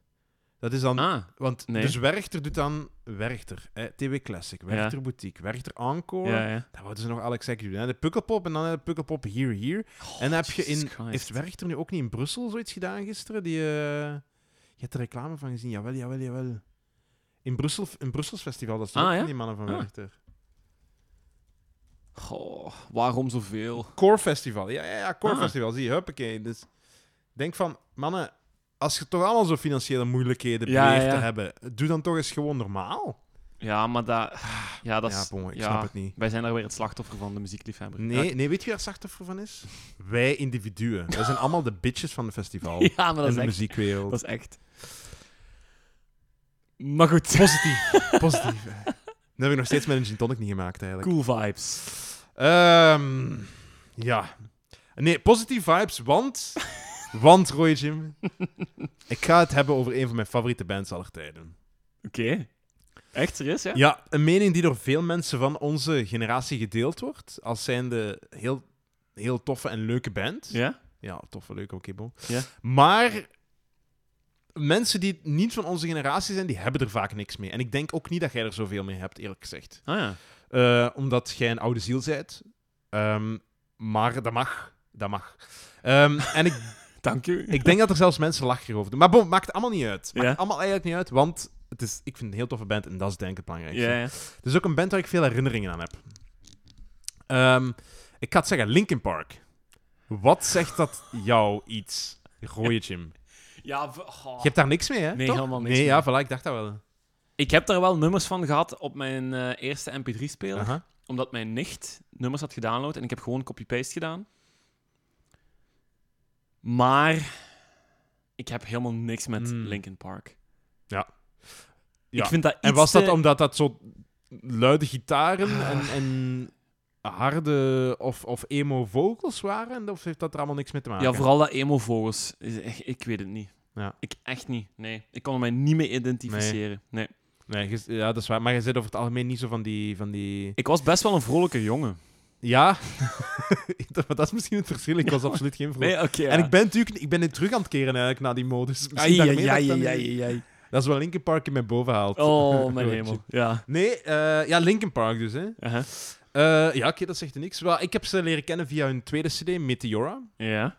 Speaker 1: Dat is dan...
Speaker 2: Ah,
Speaker 1: want
Speaker 2: nee.
Speaker 1: dus Werchter doet dan Werchter. Hè, TW Classic, Werchter Boutique, Werchter Encore.
Speaker 2: ja, ja.
Speaker 1: Daar wouden ze nog Alex Eck doen. Hè. De Pukkelpop en dan de Pukkelpop Here Here. En dan heb je
Speaker 2: Jesus
Speaker 1: in...
Speaker 2: Christ.
Speaker 1: Heeft Werchter nu ook niet in Brussel zoiets gedaan gisteren? Die, eh, je hebt er reclame van gezien. Jawel, jawel, jawel. In Brussel, in Brussels Festival, dat is
Speaker 2: Ah,
Speaker 1: ook
Speaker 2: ja?
Speaker 1: van die mannen van
Speaker 2: Ah.
Speaker 1: Werchter.
Speaker 2: Goh, waarom zoveel?
Speaker 1: Core Festival. Ja, ja, ja Core
Speaker 2: Ah.
Speaker 1: Festival. Zie je, huppakee. Dus denk van, mannen, als je toch allemaal zo financiële moeilijkheden
Speaker 2: Ja,
Speaker 1: beleeft
Speaker 2: ja.
Speaker 1: te hebben, doe dan toch eens gewoon normaal.
Speaker 2: Ja, maar dat... Ja, dat is...
Speaker 1: ja, bon, ik
Speaker 2: ja,
Speaker 1: snap het niet.
Speaker 2: Wij zijn daar weer het slachtoffer van, de muziekliefhebber.
Speaker 1: Nee, nee, weet je waar slachtoffer van is? Wij individuen. Wij zijn allemaal de bitches van het festival.
Speaker 2: (laughs) Ja, maar
Speaker 1: Oh.
Speaker 2: dat
Speaker 1: en
Speaker 2: is
Speaker 1: de
Speaker 2: echt...
Speaker 1: muziekwereld.
Speaker 2: Dat is echt... Maar goed, (laughs)
Speaker 1: Positief. Positief. Dat heb ik nog steeds met een gin tonic niet gemaakt, eigenlijk.
Speaker 2: cool vibes.
Speaker 1: Ehm, Ja. Nee, positieve vibes,
Speaker 2: (laughs)
Speaker 1: want... want, Roy Jim. ik ga het hebben over een van mijn favoriete bands aller tijden.
Speaker 2: Oké. Echt serieus, ja?
Speaker 1: Ja, een mening die door veel mensen van onze generatie gedeeld wordt. Als zijnde heel, heel toffe en leuke band.
Speaker 2: Ja?
Speaker 1: Ja, toffe, leuke, oké, bon.
Speaker 2: Ja.
Speaker 1: Maar mensen die niet van onze generatie zijn, die hebben er vaak niks mee. En ik denk ook niet dat jij er zoveel mee hebt, eerlijk gezegd.
Speaker 2: Ah ja.
Speaker 1: Eh, omdat jij een oude ziel zijt. Ehm, maar dat mag. Dat mag. Ehm, en ik,
Speaker 2: Dank u.
Speaker 1: (laughs) ik denk dat er zelfs mensen lachen over doen. Maar bon, maakt allemaal niet uit. Maakt
Speaker 2: Ja.
Speaker 1: allemaal eigenlijk niet uit, want het is, ik vind het een heel toffe band en dat is denk ik het belangrijkste.
Speaker 2: Ja, ja.
Speaker 1: Het is ook een band waar ik veel herinneringen aan heb. Ehm, ik ga het zeggen, Linkin Park. Wat zegt dat jou iets? Rooie Jim.
Speaker 2: ja v- goh.
Speaker 1: Je hebt daar niks mee, hè?
Speaker 2: Oh. Nee,
Speaker 1: toch?
Speaker 2: helemaal niks
Speaker 1: Nee,
Speaker 2: mee.
Speaker 1: ja, voilà, ik dacht dat wel.
Speaker 2: Ik heb daar wel nummers van gehad op mijn eh, eerste MP3-speler.
Speaker 1: Aha.
Speaker 2: Omdat mijn nicht nummers had gedownload en ik heb gewoon copy-paste gedaan. Maar ik heb helemaal niks met
Speaker 1: Mm.
Speaker 2: Linkin Park.
Speaker 1: Ja. Ja.
Speaker 2: Ik vind dat iets eh, Ah.
Speaker 1: En was dat Ah.
Speaker 2: te-
Speaker 1: omdat dat zo luide gitaren en, en harde of, of emo vocals waren? Of heeft dat er allemaal niks mee te maken?
Speaker 2: Ja, vooral dat emo-vogels. Is echt- Ik weet het niet.
Speaker 1: Ah, Ja.
Speaker 2: Ik echt niet. Nee. Ik kon er mij niet mee identificeren. Nee.
Speaker 1: Nee, je- ja, dat is waar. Maar je zit over het algemeen niet zo van die... Van die...
Speaker 2: Ik was best wel een vrolijke jongen.
Speaker 1: Ja, (laughs) dat is misschien het verschil. Ik was absoluut geen vrolijk.
Speaker 2: Nee, oké.
Speaker 1: En ik ben natuurlijk ik ben nu terug aan het keren eigenlijk naar die modus. Misschien
Speaker 2: Ai,
Speaker 1: daarmee
Speaker 2: ai,
Speaker 1: dat ik
Speaker 2: ai,
Speaker 1: dan nu-
Speaker 2: ai, ai.
Speaker 1: Dat is wel Linkin Park in mijn boven haalt. (laughs)
Speaker 2: Oh, mijn hemel. Ja. Uh-huh.
Speaker 1: Nee, eh, ja, Linkin Park dus. Hè.
Speaker 2: Aha.
Speaker 1: Eh, ja, oké, dat zegt er niks. Wel, ik heb ze leren kennen via hun tweede CD, Meteora.
Speaker 2: Ja.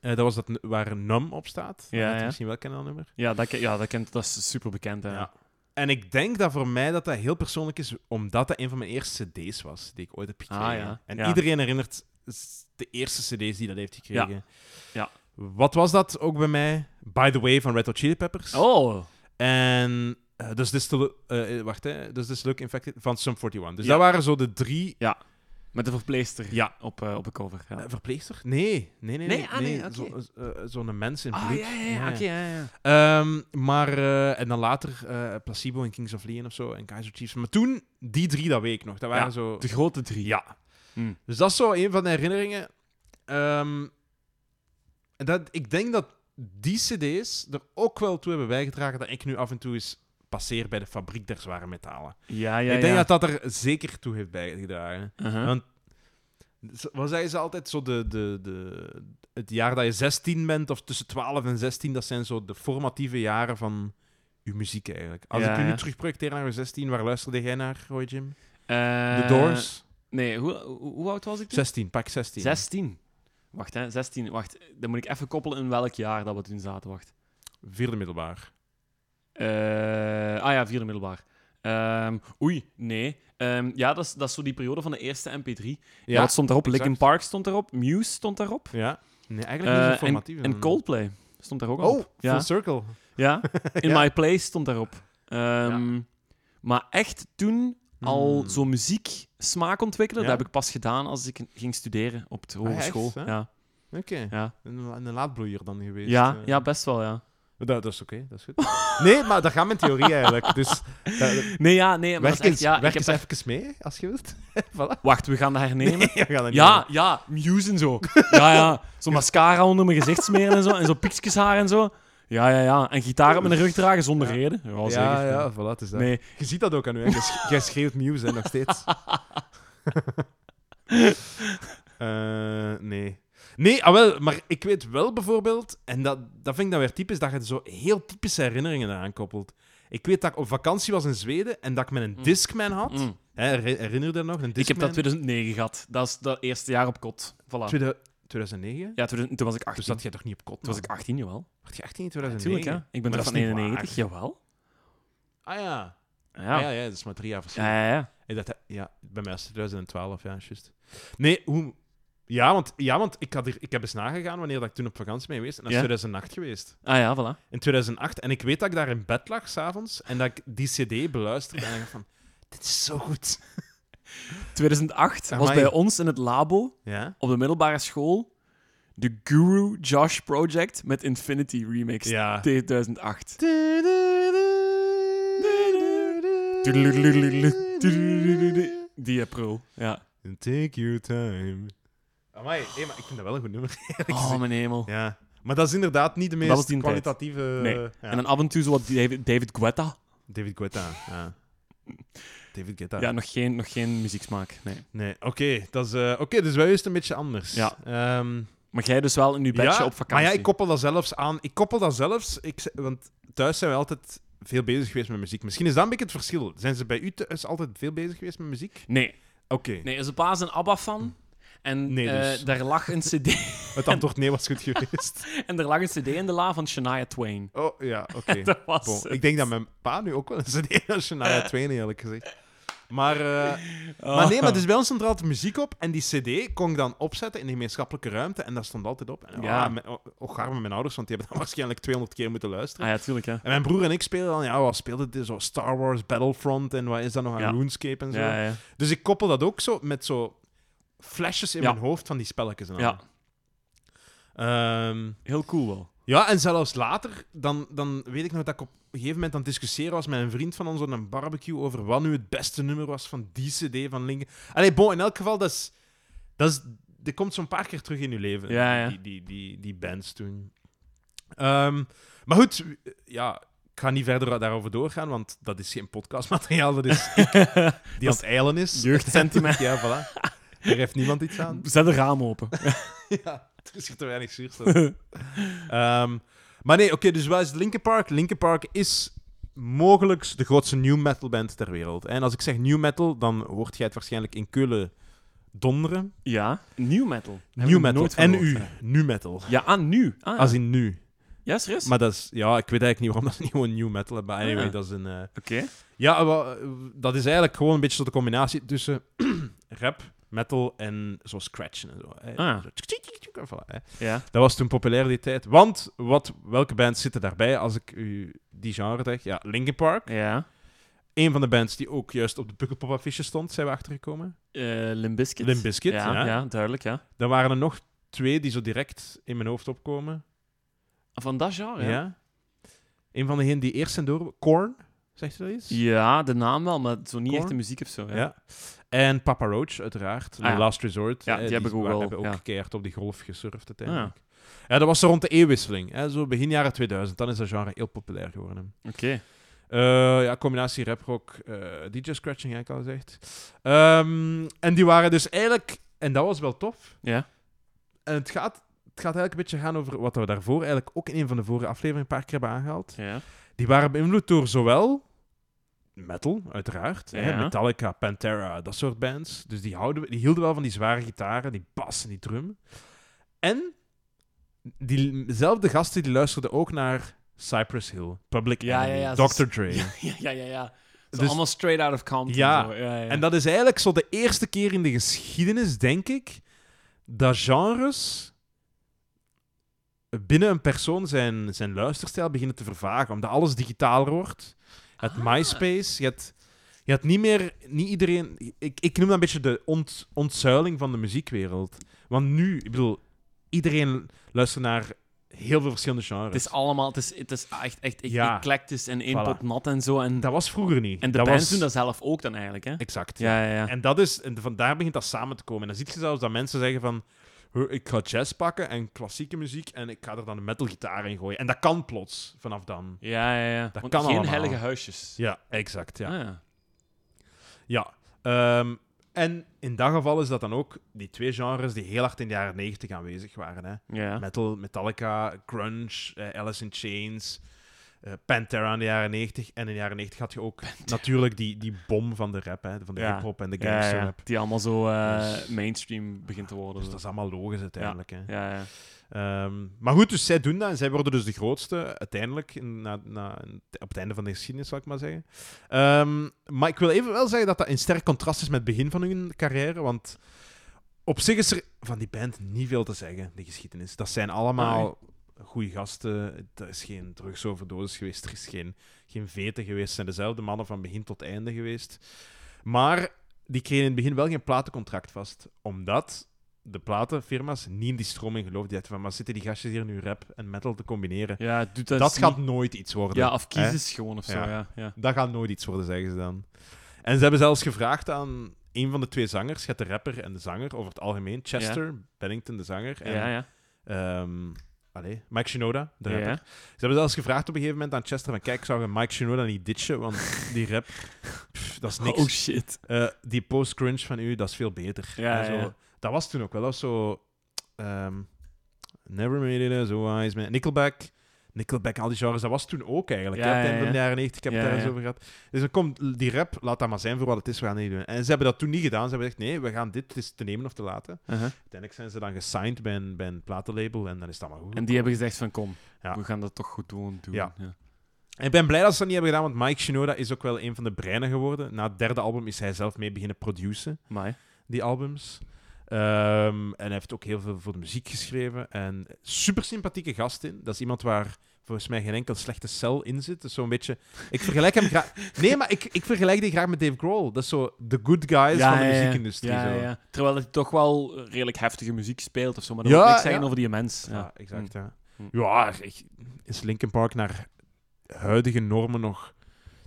Speaker 1: Eh, dat was dat nu- waar Num op staat.
Speaker 2: Ja,
Speaker 1: Dat je
Speaker 2: ja.
Speaker 1: misschien wel kennen dat nummer.
Speaker 2: Ja, dat, ken- ja, dat, kent, dat is super bekend. Hè.
Speaker 1: Ja. En ik denk dat voor mij dat dat heel persoonlijk is, omdat dat een van mijn eerste CD's was die ik ooit heb gekregen.
Speaker 2: Ah, ja.
Speaker 1: En
Speaker 2: Ja.
Speaker 1: iedereen herinnert s- de eerste CD's die dat heeft gekregen.
Speaker 2: Ja.
Speaker 1: Wat was dat ook bij mij? By the Way van Red Hot Chili Peppers.
Speaker 2: Oh,
Speaker 1: En eh, dus dit is de eh, wacht hè, dus dit is Look Infected van Sum 41. Dus
Speaker 2: Ja.
Speaker 1: dat waren zo de drie
Speaker 2: met de verpleester
Speaker 1: Ja.
Speaker 2: op, eh, op de cover. Ja.
Speaker 1: eh, verpleegster? Nee, nee, nee,
Speaker 2: Nee,
Speaker 1: nee.
Speaker 2: ah, nee, oké.
Speaker 1: zo- eh, eh, Zo'n mens in
Speaker 2: Ah,
Speaker 1: bloed.
Speaker 2: ja, ja, ja. Oké, ja, ja.
Speaker 1: Ehm, maar eh, en dan later eh, Placebo en Kings of Leon of zo en Kaiser Chiefs. Maar toen die drie dat week nog. Dat waren
Speaker 2: Ja,
Speaker 1: zo.
Speaker 2: De grote drie.
Speaker 1: Ja.
Speaker 2: Hmm.
Speaker 1: Dus dat is zo een van de herinneringen. Ehm, en dat, ik denk dat die CD's er ook wel toe hebben bijgedragen dat ik nu af en toe eens passeer bij de fabriek der zware metalen.
Speaker 2: Ja, ja,
Speaker 1: ik denk
Speaker 2: ja.
Speaker 1: dat dat er zeker toe heeft bijgedragen.
Speaker 2: Uh-huh.
Speaker 1: Want- Z- Wat zeggen ze altijd? Zo de, de, de, het jaar dat je 16 bent, of tussen 12 en 16, dat zijn zo de formatieve jaren van je muziek eigenlijk. Als
Speaker 2: Ja,
Speaker 1: ik je nu
Speaker 2: ja.
Speaker 1: terugprojecteer naar je 16, waar luisterde jij naar, Roy Jim?
Speaker 2: Eh,
Speaker 1: The Doors?
Speaker 2: Nee, hoe, hoe, hoe oud was ik toen?
Speaker 1: 16, pak 16.
Speaker 2: 16. Wacht, hè. 16. Wacht, dan moet ik even koppelen in welk jaar dat we toen zaten. Wacht.
Speaker 1: Vierde middelbaar.
Speaker 2: Eh, ah ja, vierde middelbaar. Ehm, oei, nee. Ehm, ja, dat is, dat is zo die periode van de eerste MP3. Ja,
Speaker 1: Ja,
Speaker 2: wat stond daarop?
Speaker 1: exact.
Speaker 2: Linkin Park stond daarop. Muse stond daarop.
Speaker 1: ja. Nee, eigenlijk
Speaker 2: Eh,
Speaker 1: niet zo
Speaker 2: en,
Speaker 1: formatief.
Speaker 2: en Coldplay stond daar ook al
Speaker 1: Oh,
Speaker 2: op.
Speaker 1: Full
Speaker 2: Ja,
Speaker 1: Circle. (laughs)
Speaker 2: ja. In
Speaker 1: Ja.
Speaker 2: My Place stond daarop. Ehm, Maar echt toen al
Speaker 1: Hmm.
Speaker 2: zo'n muzieksmaak ontwikkelen,
Speaker 1: Ja?
Speaker 2: dat heb ik pas gedaan als ik ging studeren op de
Speaker 1: ja,
Speaker 2: hogeschool.
Speaker 1: echt, hè?
Speaker 2: ja,
Speaker 1: Oké.
Speaker 2: ja.
Speaker 1: Een, een laadbloeier dan geweest.
Speaker 2: Ja,
Speaker 1: eh.
Speaker 2: ja, best wel, ja.
Speaker 1: Dat, dat is oké, dat is goed. Nee, maar dat gaat mijn theorie eigenlijk.
Speaker 2: (laughs)
Speaker 1: Dus eh,
Speaker 2: Nee, ja, nee, maar
Speaker 1: werk
Speaker 2: dat is echt,
Speaker 1: eens,
Speaker 2: ja, ik
Speaker 1: werk eens
Speaker 2: heb daar-
Speaker 1: even mee, als je (laughs) wilt. voilà.
Speaker 2: Wacht, we gaan dat hernemen.
Speaker 1: We gaan dat niet
Speaker 2: Ja, ja, Muse en zo. Ja, ja. Zo mascara onder mijn gezicht smeren en zo. En zo piksjeshaar en zo. Ja, ja, ja. En gitaar op mijn rug dragen zonder
Speaker 1: Ja.
Speaker 2: reden. Ja, zeker.
Speaker 1: Ja, ja, voilà, het is dat.
Speaker 2: Nee.
Speaker 1: Je ziet dat ook aan u, hè. Jij sch- Jij schreeuwt nieuws, hè, nog
Speaker 2: (laughs)
Speaker 1: steeds. (laughs) Eh, nee. Nee, ah, wel, maar ik weet wel bijvoorbeeld, en dat, dat vind ik dan weer typisch, dat je zo heel typische herinneringen eraan koppelt. Ik weet dat ik op vakantie was in Zweden en dat ik met een
Speaker 2: Mm.
Speaker 1: Discman had.
Speaker 2: Mm.
Speaker 1: Hè, her- herinner je dat nog? Een
Speaker 2: Ik heb
Speaker 1: Discman?
Speaker 2: dat 2009 gehad. Dat is dat eerste jaar op kot. Voilà.
Speaker 1: Tweede- 2009?
Speaker 2: Ja, toen, toen was ik 18.
Speaker 1: Dus dat jij toch niet op kot?
Speaker 2: Toen was
Speaker 1: man?
Speaker 2: ik 18, jawel.
Speaker 1: Werd je 18 in
Speaker 2: Natuurlijk,
Speaker 1: 2009?
Speaker 2: hè. Ik
Speaker 1: Maar
Speaker 2: ben er
Speaker 1: dat
Speaker 2: van
Speaker 1: is niet waar.
Speaker 2: 91, jawel.
Speaker 1: Ah ja.
Speaker 2: Ja,
Speaker 1: Ah, ja,
Speaker 2: ja,
Speaker 1: ja, dat is maar drie jaar verschil.
Speaker 2: ja. ja.
Speaker 1: Ik dacht, ja, bij mij is het 2012, ja, juist. Nee, hoe... Ja, want, ja, want ik, had er, ik heb eens nagegaan wanneer dat ik toen op vakantie ben geweest. En dat is
Speaker 2: Ja.
Speaker 1: 2008 geweest.
Speaker 2: Ah ja, voilà.
Speaker 1: In 2008. En ik weet dat ik daar in bed lag, s'avonds. En dat ik die cd beluisterde. En ik dacht van, dit is zo goed.
Speaker 2: 2008 was
Speaker 1: Amai.
Speaker 2: bij ons in het labo
Speaker 1: Ja?
Speaker 2: op de middelbare school de Guru Josh Project met Infinity Remix
Speaker 1: Ja.
Speaker 2: 2008. Die april. Ja.
Speaker 1: And take your time. Amai, hé, maar ik vind dat wel een goed nummer. (laughs) eerlijk
Speaker 2: Oh,
Speaker 1: gezegd.
Speaker 2: mijn hemel.
Speaker 1: Ja. Maar dat is inderdaad niet de
Speaker 2: was
Speaker 1: meest
Speaker 2: die tijd.
Speaker 1: kwalitatieve...
Speaker 2: Nee.
Speaker 1: eh, ja.
Speaker 2: En dan af en toe zo wat David, David Guetta.
Speaker 1: David Guetta. Ja. David Guetta.
Speaker 2: Ja, nog geen, nog geen muzieksmaak. Nee.
Speaker 1: Nee, oké. dat is, eh, Oké, dus wij is het een beetje anders.
Speaker 2: Ja.
Speaker 1: Ehm,
Speaker 2: Maar jij dus wel in je bedje
Speaker 1: ja,
Speaker 2: op vakantie.
Speaker 1: Maar ja, ik koppel dat zelfs aan. Ik koppel dat zelfs, ik, ze- want thuis zijn we altijd veel bezig geweest met muziek. Misschien is dat een beetje het verschil. Zijn ze bij u thuis altijd veel bezig geweest met muziek?
Speaker 2: Nee,
Speaker 1: Oké.
Speaker 2: nee, zijn pa is een ABBA-fan. En
Speaker 1: Nee,
Speaker 2: eh,
Speaker 1: dus.
Speaker 2: daar lag een (laughs) cd,
Speaker 1: Het antwoord nee was goed
Speaker 2: (laughs)
Speaker 1: geweest.
Speaker 2: en daar lag een cd in de la van Shania Twain.
Speaker 1: Oh, ja, oké.
Speaker 2: Dat was
Speaker 1: Bon,
Speaker 2: het.
Speaker 1: Ik denk dat mijn pa nu ook wel eens een (laughs) CD als Shania Twain, eerlijk gezegd. Maar, eh, maar
Speaker 2: Ah.
Speaker 1: nee, maar dus bij ons stond er altijd muziek op. En die cd kon ik dan opzetten in de gemeenschappelijke ruimte. En daar stond altijd op. En,
Speaker 2: Ja.
Speaker 1: ja. Och, arme mijn ouders, want die hebben (laughs) dat waarschijnlijk 200 keer moeten luisteren.
Speaker 2: Ah ja, tuurlijk, hè.
Speaker 1: En mijn broer en ik spelen dan, ja, wat speelde dit? Zo Star Wars Battlefront en wat is dat nog aan
Speaker 2: Ja.
Speaker 1: RuneScape en zo.
Speaker 2: Ja, ja.
Speaker 1: Dus ik koppel dat ook zo met zo flashes in
Speaker 2: Ja.
Speaker 1: mijn hoofd van die spelletjes. Ehm, En
Speaker 2: ja,
Speaker 1: ja.
Speaker 2: heel cool wel.
Speaker 1: ja, en zelfs later, dan, dan weet ik nog dat ik op een gegeven moment aan het discussiëren was met een vriend van ons op een barbecue over wat nu het beste nummer was van die CD van Linkin. Allee, bon, in elk geval, dat is... Dat is dat komt zo'n paar keer terug in je leven.
Speaker 2: Ja, ja.
Speaker 1: Die, die, die, die bands toen. Ehm, maar goed, ja, ik ga niet verder daarover doorgaan, want dat is geen podcastmateriaal. Dat is
Speaker 2: (laughs)
Speaker 1: ik die aan het eilen is. (laughs)
Speaker 2: Jeugdsentiment.
Speaker 1: ja, voilà. Er heeft niemand iets aan.
Speaker 2: Zet de raam open.
Speaker 1: Ja, (laughs) er is hier te weinig zuurstof. Ehm, maar nee, oké, dus waar is Linkin Park? Linkin Park is mogelijk de grootste new metal band ter wereld. En als ik zeg new metal, dan word jij het waarschijnlijk in Keulen donderen.
Speaker 2: Ja, new metal.
Speaker 1: New
Speaker 2: Daar heb ik
Speaker 1: metal.
Speaker 2: nooit van
Speaker 1: En
Speaker 2: gehoord,
Speaker 1: u,
Speaker 2: hè.
Speaker 1: nu metal.
Speaker 2: Ja, ah, nu. Ah,
Speaker 1: Als in nu.
Speaker 2: ja, serieus?
Speaker 1: Maar dat is, ja, ik weet eigenlijk niet waarom dat niet gewoon new metal hebben. Maar anyway,
Speaker 2: Ah.
Speaker 1: dat is een. eh,
Speaker 2: Oké.
Speaker 1: ja, wel, eh, dat is eigenlijk gewoon een beetje zo de combinatie tussen (clears throat) rap, metal en zo scratchen en zo. hè.
Speaker 2: Ah.
Speaker 1: Zo tsk, tsk, tsk, tsk, en voilà, hè.
Speaker 2: Ja.
Speaker 1: Dat was toen populair die tijd. Want wat, welke bands zitten daarbij als ik u die genre zeg? Ja, Linkin Park.
Speaker 2: Ja.
Speaker 1: Een van de bands die ook juist op de Pukkelpop affiche stond, zijn we achtergekomen.
Speaker 2: Eh Limp Bizkit.
Speaker 1: Limp Bizkit,
Speaker 2: ja.
Speaker 1: ja.
Speaker 2: Ja, duidelijk, ja.
Speaker 1: Dan waren er nog twee die zo direct in mijn hoofd opkomen.
Speaker 2: Van dat genre,
Speaker 1: Ja.
Speaker 2: Oh, ja.
Speaker 1: Een van degenen die eerst zijn door... Korn, zegt u dat iets?
Speaker 2: Ja, de naam wel, maar zo niet
Speaker 1: Core?
Speaker 2: echt de muziek of zo. Ja.
Speaker 1: Ja. En Papa Roach, uiteraard.
Speaker 2: Ah, ja.
Speaker 1: Last Resort.
Speaker 2: Ja,
Speaker 1: eh,
Speaker 2: die heb ik ook
Speaker 1: wa-
Speaker 2: wel,
Speaker 1: hebben ook
Speaker 2: ja. Ah.
Speaker 1: keihard op die golf gesurfd
Speaker 2: ja.
Speaker 1: uiteindelijk. ja. dat was zo rond de eeuwwisseling. Hè. Zo begin jaren 2000. Dan is dat genre heel populair geworden.
Speaker 2: Oké.
Speaker 1: Eh, ja, combinatie rap-rock, eh DJ Scratching, heb ik al gezegd. Ehm, en die waren dus eigenlijk... En dat was wel tof.
Speaker 2: Ja.
Speaker 1: En het gaat, het gaat eigenlijk een beetje gaan over wat we daarvoor eigenlijk ook in een van de vorige afleveringen een paar keer hebben aangehaald.
Speaker 2: Ja.
Speaker 1: Die waren beïnvloed door zowel metal, uiteraard,
Speaker 2: Ja.
Speaker 1: hè, Metallica, Pantera, dat soort bands. Dus die, houden, we- die hielden wel van die zware gitaren, die bas en die drum. En diezelfde gasten die luisterden ook naar Cypress Hill, Public
Speaker 2: Ja, ja,
Speaker 1: Enemy,
Speaker 2: ja,
Speaker 1: Dr.
Speaker 2: ze-
Speaker 1: Dre.
Speaker 2: (laughs) Ja, ja, ja, ja. ja. Zo
Speaker 1: Dus-
Speaker 2: allemaal straight out of Compton.
Speaker 1: Ja.
Speaker 2: zo. ja, ja.
Speaker 1: En dat is eigenlijk zo de eerste keer in de geschiedenis, denk ik, dat genres binnen een persoon zijn, zijn luisterstijl beginnen te vervagen. Omdat alles digitaler wordt. Het
Speaker 2: Ah.
Speaker 1: MySpace, je hebt, je hebt niet meer... Niet iedereen... Ik, ik noem dat een beetje de ont, ontzuiling van de muziekwereld. Want nu, ik bedoel, iedereen luistert naar heel veel verschillende genres.
Speaker 2: Het is allemaal, het is, het is echt, echt e-
Speaker 1: Ja.
Speaker 2: eclectisch en één
Speaker 1: Voilà.
Speaker 2: pot nat en zo. En,
Speaker 1: Dat was vroeger niet.
Speaker 2: en de
Speaker 1: dat
Speaker 2: bands
Speaker 1: was...
Speaker 2: doen dat zelf ook dan eigenlijk, hè?
Speaker 1: Exact.
Speaker 2: Ja, ja,
Speaker 1: (laughs)
Speaker 2: ja.
Speaker 1: En dat is, en vandaar begint dat samen te komen. En dan zie je zelfs dat mensen zeggen van, "Huh, ik ga jazz pakken en klassieke muziek en ik ga er dan een metalgitaar in gooien. En dat kan plots vanaf dan.
Speaker 2: Ja, ja, ja.
Speaker 1: Dat
Speaker 2: Want
Speaker 1: kan
Speaker 2: geen
Speaker 1: allemaal.
Speaker 2: heilige huisjes.
Speaker 1: Ja, exact. Ja.
Speaker 2: Ah, ja.
Speaker 1: ja. Ehm, en in dat geval is dat dan ook die twee genres die heel hard in de jaren 90 aanwezig waren. Hè?
Speaker 2: Ja.
Speaker 1: Metal, Metallica, grunge, eh, Alice in Chains, eh, Pantera in de jaren 90. En in de jaren 90 had je ook natuurlijk die, die bom van de rap, hè? van de
Speaker 2: Ja.
Speaker 1: hip-hop en de
Speaker 2: Ja,
Speaker 1: gangster
Speaker 2: ja.
Speaker 1: rap.
Speaker 2: Die allemaal zo eh,
Speaker 1: Dus-
Speaker 2: mainstream begint te worden.
Speaker 1: Dus
Speaker 2: zo.
Speaker 1: dat is allemaal logisch uiteindelijk. Hè?
Speaker 2: ja, ja.
Speaker 1: Ehm, maar goed, dus zij doen dat en zij worden dus de grootste uiteindelijk, in- na, na, op het einde van de geschiedenis zal ik maar zeggen. Ehm, maar ik wil even wel zeggen dat dat in sterk contrast is met het begin van hun carrière, want op zich is er van die band niet veel te zeggen, de geschiedenis. Dat zijn allemaal goede gasten, er is geen drugsoverdosis geweest, er is geen, geen veten geweest, het zijn dezelfde mannen van begin tot einde geweest. Maar die kregen in het begin wel geen platencontract vast, omdat de platenfirma's niet in die stroming geloofden. Die dachten van, maar zitten die gastjes hier nu rap en metal te combineren?
Speaker 2: ja doet
Speaker 1: dat
Speaker 2: dat eens
Speaker 1: gaat
Speaker 2: niet-
Speaker 1: nooit iets worden.
Speaker 2: Ja, of
Speaker 1: hè?
Speaker 2: kiezers gewoon of zo,
Speaker 1: Ja.
Speaker 2: ja. ja.
Speaker 1: Dat gaat nooit iets worden, zeggen ze dan. En ze hebben zelfs gevraagd aan een van de twee zangers, je hebt de rapper en de zanger over het algemeen. Chester Bennington, de zanger. En,
Speaker 2: Ja, ja.
Speaker 1: ehm, allee, Mike Shinoda, de
Speaker 2: Ja,
Speaker 1: rapper.
Speaker 2: ja.
Speaker 1: Ze hebben zelfs gevraagd op een gegeven moment aan Chester van kijk, zou je Mike Shinoda niet ditchen, want die rap, pff, dat is
Speaker 2: (laughs)
Speaker 1: niks.
Speaker 2: Oh shit.
Speaker 1: Eh, die post-crunch van u, dat is veel beter.
Speaker 2: Ja,
Speaker 1: En zo.
Speaker 2: ja, ja.
Speaker 1: Dat was toen ook wel. Dat was zo... ehm, Never made it as a wise man. Nickelback. Nickelback, al die genres. Dat was toen ook eigenlijk.
Speaker 2: Ja,
Speaker 1: hè, op het
Speaker 2: ja,
Speaker 1: einde van de
Speaker 2: ja.
Speaker 1: jaren 90. Ik heb
Speaker 2: Ja,
Speaker 1: het daar eens
Speaker 2: ja.
Speaker 1: over gehad. Dus dan komt die rap, laat dat maar zijn voor wat het is. We gaan het niet doen. En ze hebben dat toen niet gedaan. Ze hebben gezegd, nee, we gaan dit is te nemen of te laten.
Speaker 2: Uh-huh.
Speaker 1: Uiteindelijk zijn ze dan gesigned bij een, bij een platenlabel. En dan is dat maar goed.
Speaker 2: En die hebben gezegd van kom,
Speaker 1: Ja.
Speaker 2: we gaan dat toch goed doen. doen.
Speaker 1: Ja. Ik ben blij dat ze dat niet hebben gedaan, want Mike Shinoda is ook wel een van de breinen geworden. Na het derde album is hij zelf mee beginnen produceren,
Speaker 2: Maar
Speaker 1: die albums. Ehm, en hij heeft ook heel veel voor de muziek geschreven. En super sympathieke gast in. Dat is iemand waar volgens mij geen enkel slechte cel in zit. Dus zo'n beetje... Ik vergelijk hem
Speaker 2: (laughs)
Speaker 1: graag... Nee, maar ik, ik vergelijk die graag met Dave Grohl. Dat is zo de good guys van de muziekindustrie.
Speaker 2: Ja,
Speaker 1: zo.
Speaker 2: ja. Terwijl hij toch wel redelijk heftige muziek speelt of zo, maar dat
Speaker 1: Ja,
Speaker 2: wil niks zeggen
Speaker 1: ja.
Speaker 2: over die mens. Ja.
Speaker 1: Ja, exact. Ja,
Speaker 2: Hm.
Speaker 1: ja ik- is Linkin Park naar huidige normen nog,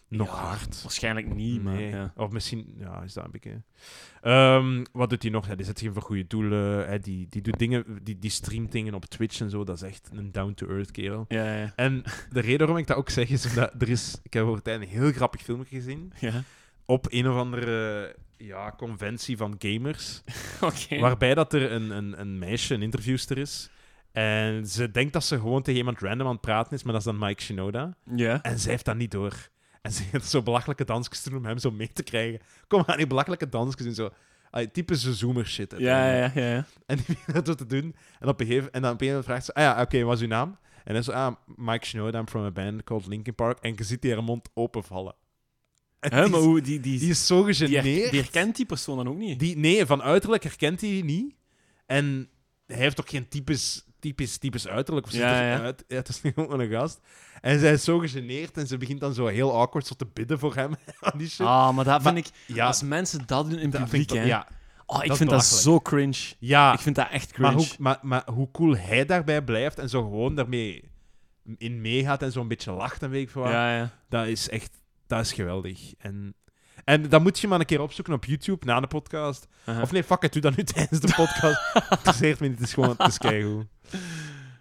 Speaker 1: nog
Speaker 2: Ja,
Speaker 1: hard?
Speaker 2: Waarschijnlijk niet, maar
Speaker 1: Nee.
Speaker 2: ja.
Speaker 1: Of misschien, ja, is dat een beetje. Ehm, wat doet hij nog? Ja, die zet zich in voor goede doelen. Hè, die, die doet dingen, die, die streamt dingen op Twitch en zo. Dat is echt een down-to-earth kerel.
Speaker 2: Ja, ja.
Speaker 1: En (laughs) de reden waarom ik dat ook zeg is omdat er is. Ik heb over het einde een heel grappig filmpje gezien.
Speaker 2: ja. (laughs)
Speaker 1: Op een of andere ja, conventie van
Speaker 2: (laughs)
Speaker 1: gamers.
Speaker 2: Oké.
Speaker 1: Waarbij dat er een, een, een meisje, een interviewster is. En ze denkt dat ze gewoon tegen iemand random aan het praten is, maar dat is dan Mike Shinoda.
Speaker 2: Ja.
Speaker 1: En zij heeft dat niet door. En ze heeft zo belachelijke dansjes te doen om hem zo mee te krijgen. Kom aan, die belachelijke dansjes en zo. Ah, typische zoomer shit.
Speaker 2: Ja, ja, ja, ja.
Speaker 1: En die begint (laughs) dat zo te doen. En, op een gegeven, en dan op een gegeven moment vraagt ze, ah ja, oké, wat is uw naam? En dan zo, ah, Mike Shinoda, I'm from a band called Linkin Park. En je ziet die haar mond openvallen. En
Speaker 2: Hè,
Speaker 1: die,
Speaker 2: maar
Speaker 1: is,
Speaker 2: hoe, die, die,
Speaker 1: die
Speaker 2: die,
Speaker 1: is zo
Speaker 2: her-
Speaker 1: gegeneerd.
Speaker 2: die herkent die persoon dan ook niet.
Speaker 1: Die, nee, van uiterlijk herkent hij die niet. En hij heeft ook geen typisch, typisch, typisch uiterlijk. Of ze
Speaker 2: Ja,
Speaker 1: ziet er-
Speaker 2: ja.
Speaker 1: Uit, ja, het is (laughs) gewoon een gast. En zij is zo gegeneerd en ze begint dan zo heel awkward zo te bidden voor hem. (laughs) Aan die shit.
Speaker 2: Ah, maar dat vind
Speaker 1: Maar-
Speaker 2: ik...
Speaker 1: ja,
Speaker 2: Als mensen dat doen in
Speaker 1: dat
Speaker 2: publiek,
Speaker 1: vind ik
Speaker 2: hè.
Speaker 1: toch- ja,
Speaker 2: Oh, ik
Speaker 1: dat is
Speaker 2: vind dat
Speaker 1: belachelijk.
Speaker 2: zo cringe.
Speaker 1: ja.
Speaker 2: Ik vind dat echt cringe.
Speaker 1: maar, hoe, maar, maar hoe cool hij daarbij blijft en zo gewoon daarmee in meegaat en zo'n beetje lacht en weet ik veel wat,
Speaker 2: Ja, ja.
Speaker 1: Dat is echt dat is geweldig. En, en dat moet je maar een keer opzoeken op YouTube na de podcast.
Speaker 2: Uh-huh.
Speaker 1: Of nee, fuck het, doe dat nu (laughs) tijdens de podcast. Interesseert me niet, het is gewoon, het is keigoed.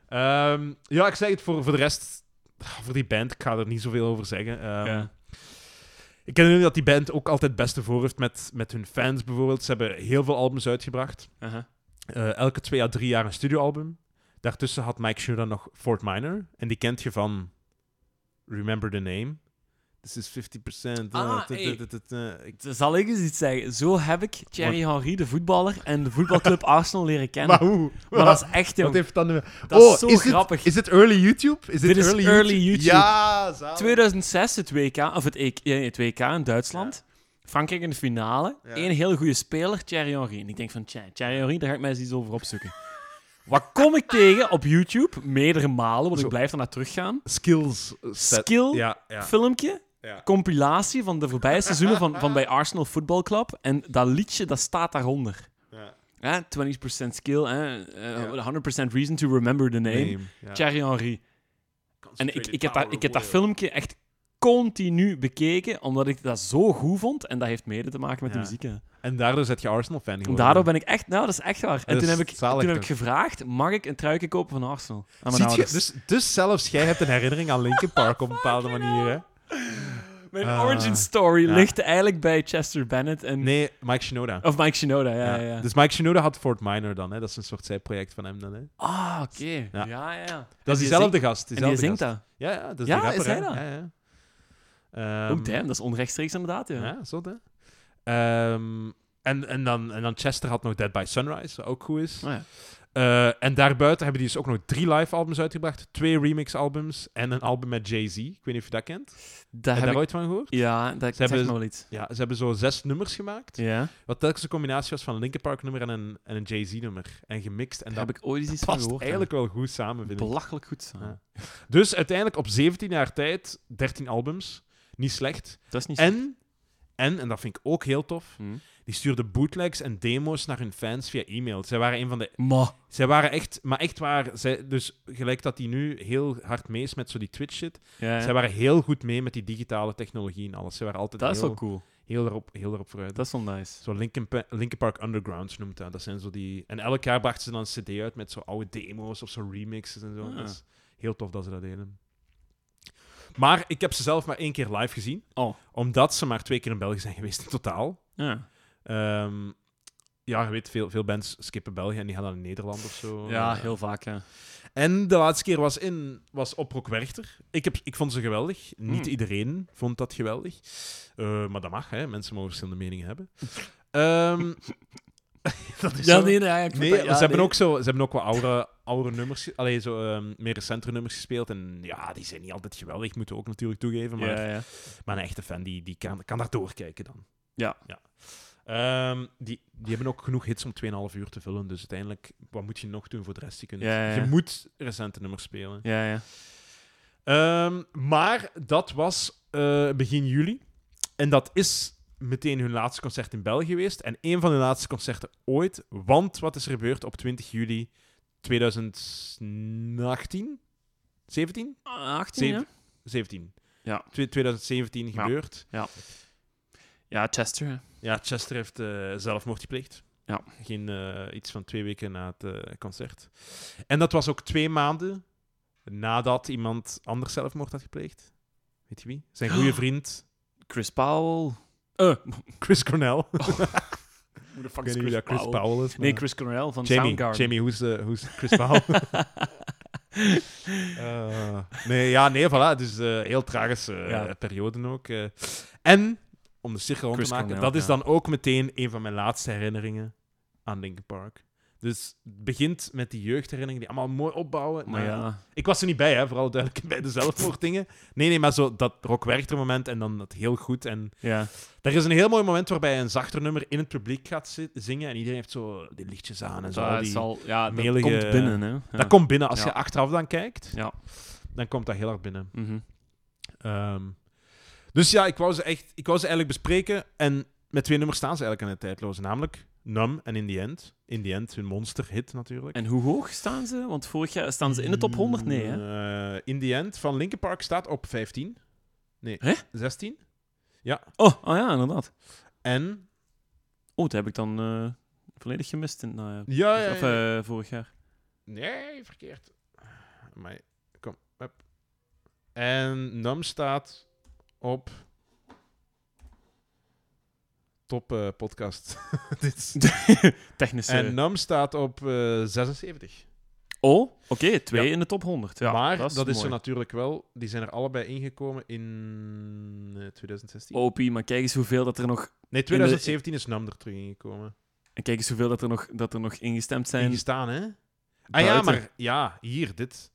Speaker 1: Ehm, ja, ik zeg het voor, voor de rest, voor die band, ik ga er niet zoveel over zeggen. Ehm,
Speaker 2: Ja.
Speaker 1: Ik ken nu dat die band ook altijd het beste voor heeft met, met hun fans bijvoorbeeld. Ze hebben heel veel albums uitgebracht.
Speaker 2: Uh-huh.
Speaker 1: Eh, elke twee à drie jaar een studioalbum. Daartussen had Mike Shinoda nog Fort Minor. En die kent je van Remember the Name. This is 50%.
Speaker 2: Ah,
Speaker 1: eh, t-
Speaker 2: hey.
Speaker 1: t- t- eh, ik-
Speaker 2: Zal ik eens iets zeggen? Zo heb ik Thierry Henry, de voetballer, en de
Speaker 1: (laughs)
Speaker 2: voetbalclub Arsenal leren kennen.
Speaker 1: Maar
Speaker 2: Maar,
Speaker 1: hoe?
Speaker 2: dat is echt...
Speaker 1: Wat
Speaker 2: jong,
Speaker 1: heeft dat nu...
Speaker 2: Dat
Speaker 1: oh,
Speaker 2: is zo
Speaker 1: is dit-
Speaker 2: grappig.
Speaker 1: Is dit early YouTube? Is dit,
Speaker 2: Dit is early YouTube.
Speaker 1: Ja, zalig.
Speaker 2: 2006 het WK, of het, EK, eh, het WK in Duitsland. Frankrijk in de finale.
Speaker 1: Ja.
Speaker 2: Eén heel goede speler, Thierry Henry. En ik denk van, tja, Thierry Henry, daar ga ik mij eens iets over opzoeken. (laughs) Wat kom ik tegen op YouTube? Meerdere malen, want
Speaker 1: Zo.
Speaker 2: ik blijf daarna teruggaan.
Speaker 1: Skills. set.
Speaker 2: Skill,
Speaker 1: Ja, ja.
Speaker 2: filmpje,
Speaker 1: ja.
Speaker 2: compilatie van de voorbije seizoenen van, van bij Arsenal Football Club. En dat liedje, dat staat daaronder.
Speaker 1: ja.
Speaker 2: Hè, 20% skill, hè, eh, 100% reason to remember the name.
Speaker 1: Name, ja.
Speaker 2: Thierry Henry. En ik, ik, heb dat, ik heb dat
Speaker 1: film
Speaker 2: filmpje echt continu bekeken, omdat ik dat zo goed vond. En dat heeft mede te maken met
Speaker 1: Ja.
Speaker 2: de muziek. hè.
Speaker 1: En daardoor zet je Arsenal-fan
Speaker 2: En
Speaker 1: geworden.
Speaker 2: daardoor ben ik echt... Nou, dat is echt waar. En
Speaker 1: Dat
Speaker 2: toen
Speaker 1: is
Speaker 2: heb ik,
Speaker 1: zalig
Speaker 2: toen heb ik
Speaker 1: toch?
Speaker 2: gevraagd, mag ik een truikje kopen van Arsenal? Aan mijn
Speaker 1: Ziet je,
Speaker 2: ouders.
Speaker 1: dus, dus zelfs jij hebt een herinnering aan Linkin Park op een bepaalde manier. Hè?
Speaker 2: mijn
Speaker 1: Ah,
Speaker 2: origin story
Speaker 1: ja.
Speaker 2: ligt eigenlijk bij Chester Bennett en...
Speaker 1: Nee, Mike Shinoda.
Speaker 2: Of Mike Shinoda, Oh, ja, ja.
Speaker 1: Ja.
Speaker 2: ja.
Speaker 1: Dus Mike Shinoda had Fort Minor dan. Hè? Dat is een soort zijproject van hem dan. Hè?
Speaker 2: Ah, oké.
Speaker 1: Ja.
Speaker 2: Ja, ja, ja. En
Speaker 1: Dat is
Speaker 2: die
Speaker 1: diezelfde
Speaker 2: zingt-
Speaker 1: gast.
Speaker 2: En die
Speaker 1: Diezelfde
Speaker 2: zingt
Speaker 1: gast.
Speaker 2: dat.
Speaker 1: Ja, ja, dat is
Speaker 2: Ja,
Speaker 1: de rapper.
Speaker 2: is hij
Speaker 1: hè.
Speaker 2: dat?
Speaker 1: Ja, ja. Ehm,
Speaker 2: oh, damn, dat is onrechtstreeks inderdaad, ja.
Speaker 1: Ja, zot hè. Ehm, en, en, dan, en dan Chester had nog Dead by Sunrise, wat ook goed is.
Speaker 2: Oh, ja.
Speaker 1: Eh, en daarbuiten hebben die dus ook nog drie live albums uitgebracht. Twee remix albums en een album met Jay-Z. Ik weet niet of je dat kent. Heb
Speaker 2: Daar
Speaker 1: je
Speaker 2: heb
Speaker 1: daar
Speaker 2: ik...
Speaker 1: ooit van gehoord?
Speaker 2: Ja, dat
Speaker 1: Ze hebben-
Speaker 2: zegt me wel iets.
Speaker 1: Ja, ze hebben zo zes nummers gemaakt.
Speaker 2: Ja,
Speaker 1: Wat telkens een combinatie was van een Linkin Park nummer en een, en een Jay-Z nummer. En gemixt. En
Speaker 2: daar heb
Speaker 1: dat
Speaker 2: ik ooit eens iets van
Speaker 1: past
Speaker 2: gehoord. ja.
Speaker 1: eigenlijk wel goed samen, vind ik.
Speaker 2: Belachelijk goed. samen.
Speaker 1: Ja. Dus uiteindelijk op 17 jaar tijd 13 albums. Niet slecht.
Speaker 2: Dat is niet slecht.
Speaker 1: En, en, en dat vind ik ook heel tof, Die stuurden bootlegs en demo's naar hun fans via e-mail. Zij waren een van de.
Speaker 2: Maar.
Speaker 1: Zij waren echt. Maar echt waar. Zij, dus gelijk dat die nu heel hard mee is met zo die Twitch shit.
Speaker 2: Ja,
Speaker 1: Zij waren heel goed mee met die digitale technologie en alles. Zij waren altijd.
Speaker 2: dat is
Speaker 1: heel,
Speaker 2: wel cool.
Speaker 1: heel erop, heel erop vooruit.
Speaker 2: Dat is wel nice.
Speaker 1: Zo Linkin, Pa- Linkin Park Underground noemt dat. Dat zijn zo die... En elk jaar brachten ze dan een cd uit met zo oude demo's of zo remixes en zo.
Speaker 2: Ah.
Speaker 1: Dat is heel tof dat ze dat deden. Maar ik heb ze zelf maar één keer live gezien.
Speaker 2: Oh.
Speaker 1: Omdat ze maar twee keer in België zijn geweest in totaal.
Speaker 2: Ja,
Speaker 1: Ehm, ja, je weet, veel, veel bands skippen België en die gaan dan in Nederland of zo.
Speaker 2: ja
Speaker 1: Eh,
Speaker 2: heel vaak, ja.
Speaker 1: En de laatste keer was, in, was op Rock Werchter. Ik, heb, ik vond ze geweldig. Niet
Speaker 2: Hmm.
Speaker 1: iedereen vond dat geweldig. Eh, maar dat mag, hè. mensen mogen verschillende meningen hebben. Ehm, dat is zo.
Speaker 2: nee, ik
Speaker 1: Nee, ze, hebben ook zo, ze hebben ook wat oude, oude nummers, ge- allee, zo, ehm, meer recentere nummers gespeeld. En ja, die zijn niet altijd geweldig, moeten we ook natuurlijk toegeven. Maar,
Speaker 2: Ja, ja.
Speaker 1: maar een echte fan die, die kan, kan daar doorkijken dan.
Speaker 2: Ja.
Speaker 1: ja. Ehm, die, die hebben ook genoeg hits om 2,5 uur te vullen. Dus uiteindelijk, wat moet je nog doen voor de rest? Je, kunt,
Speaker 2: Ja, ja, ja.
Speaker 1: je moet recente nummers spelen.
Speaker 2: ja, ja.
Speaker 1: Ehm, maar dat was eh, begin juli. En dat is meteen hun laatste concert in België geweest. En een van hun laatste concerten ooit. Want wat is er gebeurd op 20 juli 2018? 17?
Speaker 2: 18, ja?
Speaker 1: 17.
Speaker 2: Ja.
Speaker 1: Twe- 2017
Speaker 2: Ja.
Speaker 1: gebeurd.
Speaker 2: Ja, Chester. hè.
Speaker 1: Ja, Chester heeft eh, zelfmoord gepleegd.
Speaker 2: Ja.
Speaker 1: Geen, eh, iets van twee weken na het eh, concert. En dat was ook twee maanden nadat iemand anders zelfmoord had gepleegd. Weet je wie? Zijn
Speaker 2: (gasps)
Speaker 1: goede vriend,
Speaker 2: Chris Powell. Eh,
Speaker 1: Chris Cornell. (laughs)
Speaker 2: hoe de
Speaker 1: Ik
Speaker 2: fuck
Speaker 1: weet niet
Speaker 2: is Oh, Chris,
Speaker 1: wie dat Chris
Speaker 2: Powell?
Speaker 1: Powell is.
Speaker 2: Nee,
Speaker 1: maar-
Speaker 2: Chris Cornell van
Speaker 1: Jamie,
Speaker 2: Soundgarden.
Speaker 1: Jamie, hoe is, eh, hoe is Chris Powell?
Speaker 2: (laughs)
Speaker 1: Eh, nee, ja, nee, voilà. Dus eh, heel tragische eh,
Speaker 2: Ja.
Speaker 1: perioden ook. eh. en, om de cirkel rond te
Speaker 2: Chris
Speaker 1: maken,
Speaker 2: Cornell,
Speaker 1: dat is
Speaker 2: ja.
Speaker 1: dan ook meteen een van mijn laatste herinneringen aan Linkin Park. Dus het begint met die jeugdherinneringen die allemaal mooi opbouwen.
Speaker 2: maar
Speaker 1: Nou,
Speaker 2: ja,
Speaker 1: Ik was er niet bij, hè, vooral duidelijk bij de zelfmoorddingen. Nee, nee, maar zo dat Rock Werchter moment en dan dat heel goed. En
Speaker 2: ja.
Speaker 1: er is een heel mooi moment waarbij een zachter nummer in het publiek gaat zi- zingen en iedereen heeft zo die lichtjes aan en zo. al
Speaker 2: dat,
Speaker 1: Ah, die...
Speaker 2: zal, ja dat
Speaker 1: melige-
Speaker 2: komt binnen, hè. Ja.
Speaker 1: Dat komt binnen. Als
Speaker 2: Ja.
Speaker 1: je achteraf dan kijkt,
Speaker 2: Ja.
Speaker 1: dan komt dat heel hard binnen.
Speaker 2: Mhm.
Speaker 1: Ehm, dus ja, ik wou, ze echt, ik wou ze eigenlijk bespreken. En met twee nummers staan ze eigenlijk aan het tijdloze. Namelijk Numb en In The End. In The End, hun monster hit natuurlijk.
Speaker 2: En hoe hoog staan ze? Want vorig jaar staan ze in de
Speaker 1: Mm,
Speaker 2: top 100? Nee, hè?
Speaker 1: Eh, in The End van Linkin Park staat op 15. Nee,
Speaker 2: Hè?
Speaker 1: 16.
Speaker 2: Oh, oh ja, inderdaad.
Speaker 1: En...
Speaker 2: Oh, dat heb ik dan eh, volledig gemist in het najaar.
Speaker 1: Ja, ja,
Speaker 2: Of
Speaker 1: ja.
Speaker 2: eh, vorig jaar.
Speaker 1: Nee, verkeerd. Maar kom, hup. En Nam staat op top eh,
Speaker 2: (laughs)
Speaker 1: podcast. Dit is-
Speaker 2: Technische...
Speaker 1: en Nam staat op eh, 76.
Speaker 2: Oh, oké, twee
Speaker 1: Ja.
Speaker 2: in de top 100. Ja,
Speaker 1: maar
Speaker 2: dat
Speaker 1: dat
Speaker 2: is,
Speaker 1: is, er
Speaker 2: mooi.
Speaker 1: natuurlijk wel. Die zijn er allebei ingekomen in eh, 2016.
Speaker 2: Opie, maar kijk eens hoeveel dat er nog...
Speaker 1: Nee, 2017 is Nam er terug ingekomen.
Speaker 2: En kijk eens hoeveel dat er nog, dat er nog ingestemd zijn
Speaker 1: Ingestaan, hè? Ah
Speaker 2: Buiten.
Speaker 1: ja, maar ja, hier, dit.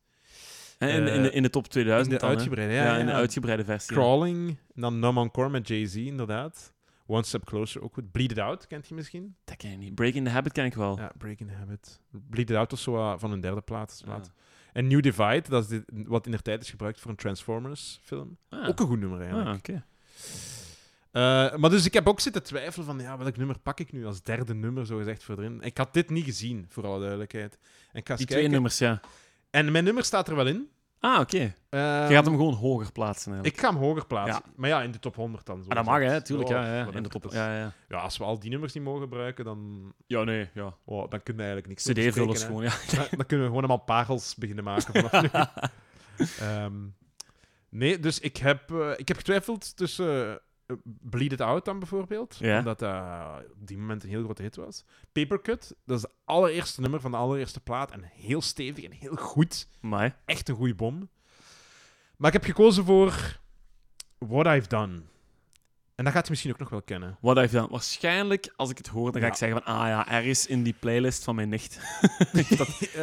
Speaker 2: hè, in, in, de, in de top 2000
Speaker 1: in de
Speaker 2: dan, hè.
Speaker 1: uitgebreide,
Speaker 2: Ja,
Speaker 1: ja,
Speaker 2: in de
Speaker 1: ja.
Speaker 2: uitgebreide versie. ja.
Speaker 1: Crawling. En dan Numb Encore met Jay-Z, inderdaad. One Step Closer ook goed. Bleed It Out, kent je misschien?
Speaker 2: Dat ken ik niet. Breaking the Habit ken ik wel.
Speaker 1: Ja, Breaking the Habit. Bleed It Out was zo eh, van hun derde plaat. plaat.
Speaker 2: Ah.
Speaker 1: En New Divide, dat is dit- wat in de tijd is gebruikt voor een Transformers film.
Speaker 2: Ah.
Speaker 1: Ook een goed nummer
Speaker 2: Ah,
Speaker 1: eigenlijk.
Speaker 2: oké.
Speaker 1: Eh, maar dus ik heb ook zitten twijfelen van, ja, welk nummer pak ik nu als derde nummer, zo gezegd, voor erin. Ik had dit niet gezien, voor alle duidelijkheid. En ik ga eens
Speaker 2: Die twee
Speaker 1: kijken.
Speaker 2: nummers, ja.
Speaker 1: En mijn nummer staat er wel in.
Speaker 2: Ah, oké.
Speaker 1: Ehm,
Speaker 2: Je gaat hem gewoon hoger plaatsen eigenlijk.
Speaker 1: Ik ga hem hoger plaatsen. Maar ja, in de top 100 dan. zo
Speaker 2: Ah, dat mag, hè.
Speaker 1: gezegd.
Speaker 2: Tuurlijk,
Speaker 1: Oh,
Speaker 2: ja. ja.
Speaker 1: wat
Speaker 2: In de
Speaker 1: heb
Speaker 2: top...
Speaker 1: ik dat?
Speaker 2: Ja, ja.
Speaker 1: Ja, als we al die nummers niet mogen gebruiken, dan,
Speaker 2: Ja, nee, ja.
Speaker 1: oh, dan kunnen we eigenlijk niks meer
Speaker 2: CD-vullers
Speaker 1: bespreken,
Speaker 2: gewoon,
Speaker 1: hè.
Speaker 2: ja.
Speaker 1: (laughs) Dan, dan kunnen we gewoon allemaal parels beginnen maken vanaf
Speaker 2: (laughs)
Speaker 1: nu. Ehm, nee, dus ik heb, eh, ik heb getwijfeld tussen eh, Bleed It Out dan bijvoorbeeld,
Speaker 2: Ja.
Speaker 1: omdat dat op die moment een heel grote hit was. Papercut, dat is het allereerste nummer van de allereerste plaat en heel stevig en heel goed.
Speaker 2: Maar,
Speaker 1: Echt een goede bom. Maar ik heb gekozen voor What I've Done. En dat gaat je misschien ook nog wel kennen.
Speaker 2: what I've done. Waarschijnlijk, als ik het hoor, dan ga ik
Speaker 1: Ja.
Speaker 2: zeggen van... Ah ja, er is in die playlist van mijn nicht.
Speaker 1: (laughs) Ja,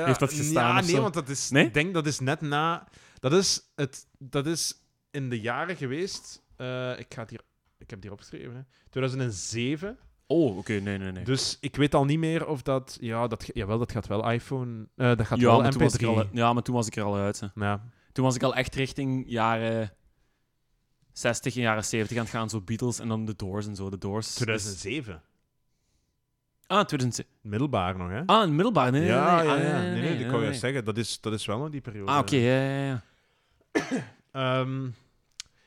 Speaker 2: Heeft dat gestaan
Speaker 1: Ja,
Speaker 2: of
Speaker 1: nee,
Speaker 2: zo?
Speaker 1: want dat is,
Speaker 2: Nee?
Speaker 1: ik denk dat is net na. Dat is, het, dat is in de jaren geweest. eh, ik, ga het hier, ik heb het hier opgeschreven. Hè. 2007.
Speaker 2: Oh, oké. nee, nee, nee.
Speaker 1: Dus ik weet al niet meer of dat. Ja, dat, ge- jawel, dat gaat wel iPhone. eh, dat gaat
Speaker 2: ja,
Speaker 1: wel
Speaker 2: maar toen was
Speaker 1: MP3.
Speaker 2: ik al, Dus- ja, maar toen was ik er al uit. hè.
Speaker 1: Ja.
Speaker 2: Toen was ik al echt richting jaren 60 en jaren 70 aan het gaan. Zo Beatles en dan The Doors en zo. The Doors. is-
Speaker 1: 2007.
Speaker 2: Ah, 2007.
Speaker 1: Middelbaar nog, hè?
Speaker 2: Ah, in het middelbaar. Nee, nee,
Speaker 1: ja,
Speaker 2: nee,
Speaker 1: ja,
Speaker 2: ah,
Speaker 1: ja. Nee, nee,
Speaker 2: nee,
Speaker 1: ik wou
Speaker 2: nee.
Speaker 1: juist eh. zeggen, dat is, dat is wel nog die periode.
Speaker 2: Ah, oké, ja, ja, ja.
Speaker 1: Ehm,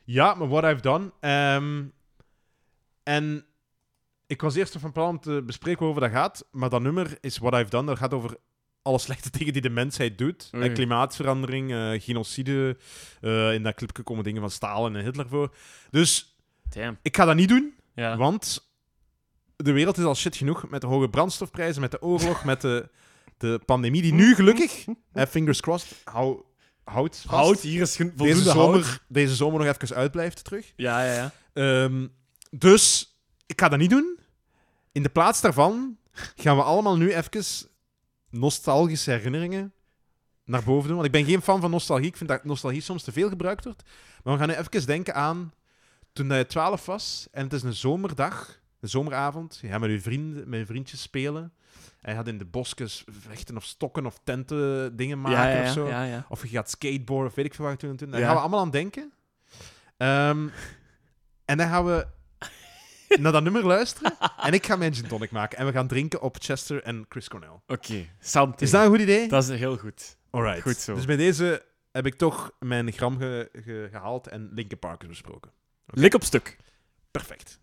Speaker 1: ja, maar What I've Done. ehm, En ik was eerst nog van plan om te bespreken waarover dat gaat, maar dat nummer is What I've Done. Dat gaat over alle slechte (laughs) dingen die de mensheid doet.
Speaker 2: Oei.
Speaker 1: Eh, klimaatverandering, eh, genocide. eh, in dat clipje komen dingen van Stalin en Hitler voor. Dus
Speaker 2: Damn.
Speaker 1: ik ga dat niet doen,
Speaker 2: Ja.
Speaker 1: want de wereld is al shit genoeg met de hoge brandstofprijzen, met de oorlog, met de, de pandemie die
Speaker 2: Mm-hmm.
Speaker 1: nu gelukkig, eh, fingers crossed, hou, houdt vast.
Speaker 2: Hout, hier is gen- voldoende
Speaker 1: deze
Speaker 2: hout.
Speaker 1: zomer, deze zomer nog even uitblijft terug.
Speaker 2: Ja, ja, ja.
Speaker 1: Ehm, dus ik ga dat niet doen. In de plaats daarvan gaan we allemaal nu even nostalgische herinneringen naar boven doen. Want ik ben geen fan van nostalgie. Ik vind dat nostalgie soms te veel gebruikt wordt. Maar we gaan nu even denken aan toen dat je 12 was en het is een zomerdag, een zomeravond. Je gaat met je vrienden, met je vriendjes spelen. En je gaat in de bosjes vechten of stokken of tenten dingen maken
Speaker 2: ja, ja, ja,
Speaker 1: of zo.
Speaker 2: ja, ja.
Speaker 1: Of je gaat skateboarden, of weet ik veel waar we toen en toen. Daar
Speaker 2: Ja.
Speaker 1: gaan we allemaal aan denken. Ehm, en dan gaan we naar dat nummer
Speaker 2: (laughs)
Speaker 1: luisteren. En ik ga mijn gin tonic maken. En we gaan drinken op Chester en Chris Cornell.
Speaker 2: Oké, something.
Speaker 1: Is dat een goed idee?
Speaker 2: Dat is heel goed.
Speaker 1: Alright.
Speaker 2: goed zo.
Speaker 1: Dus bij deze heb ik toch mijn gram ge- ge- gehaald en Linkin Park is besproken.
Speaker 2: Lik op stuk.
Speaker 1: Perfect.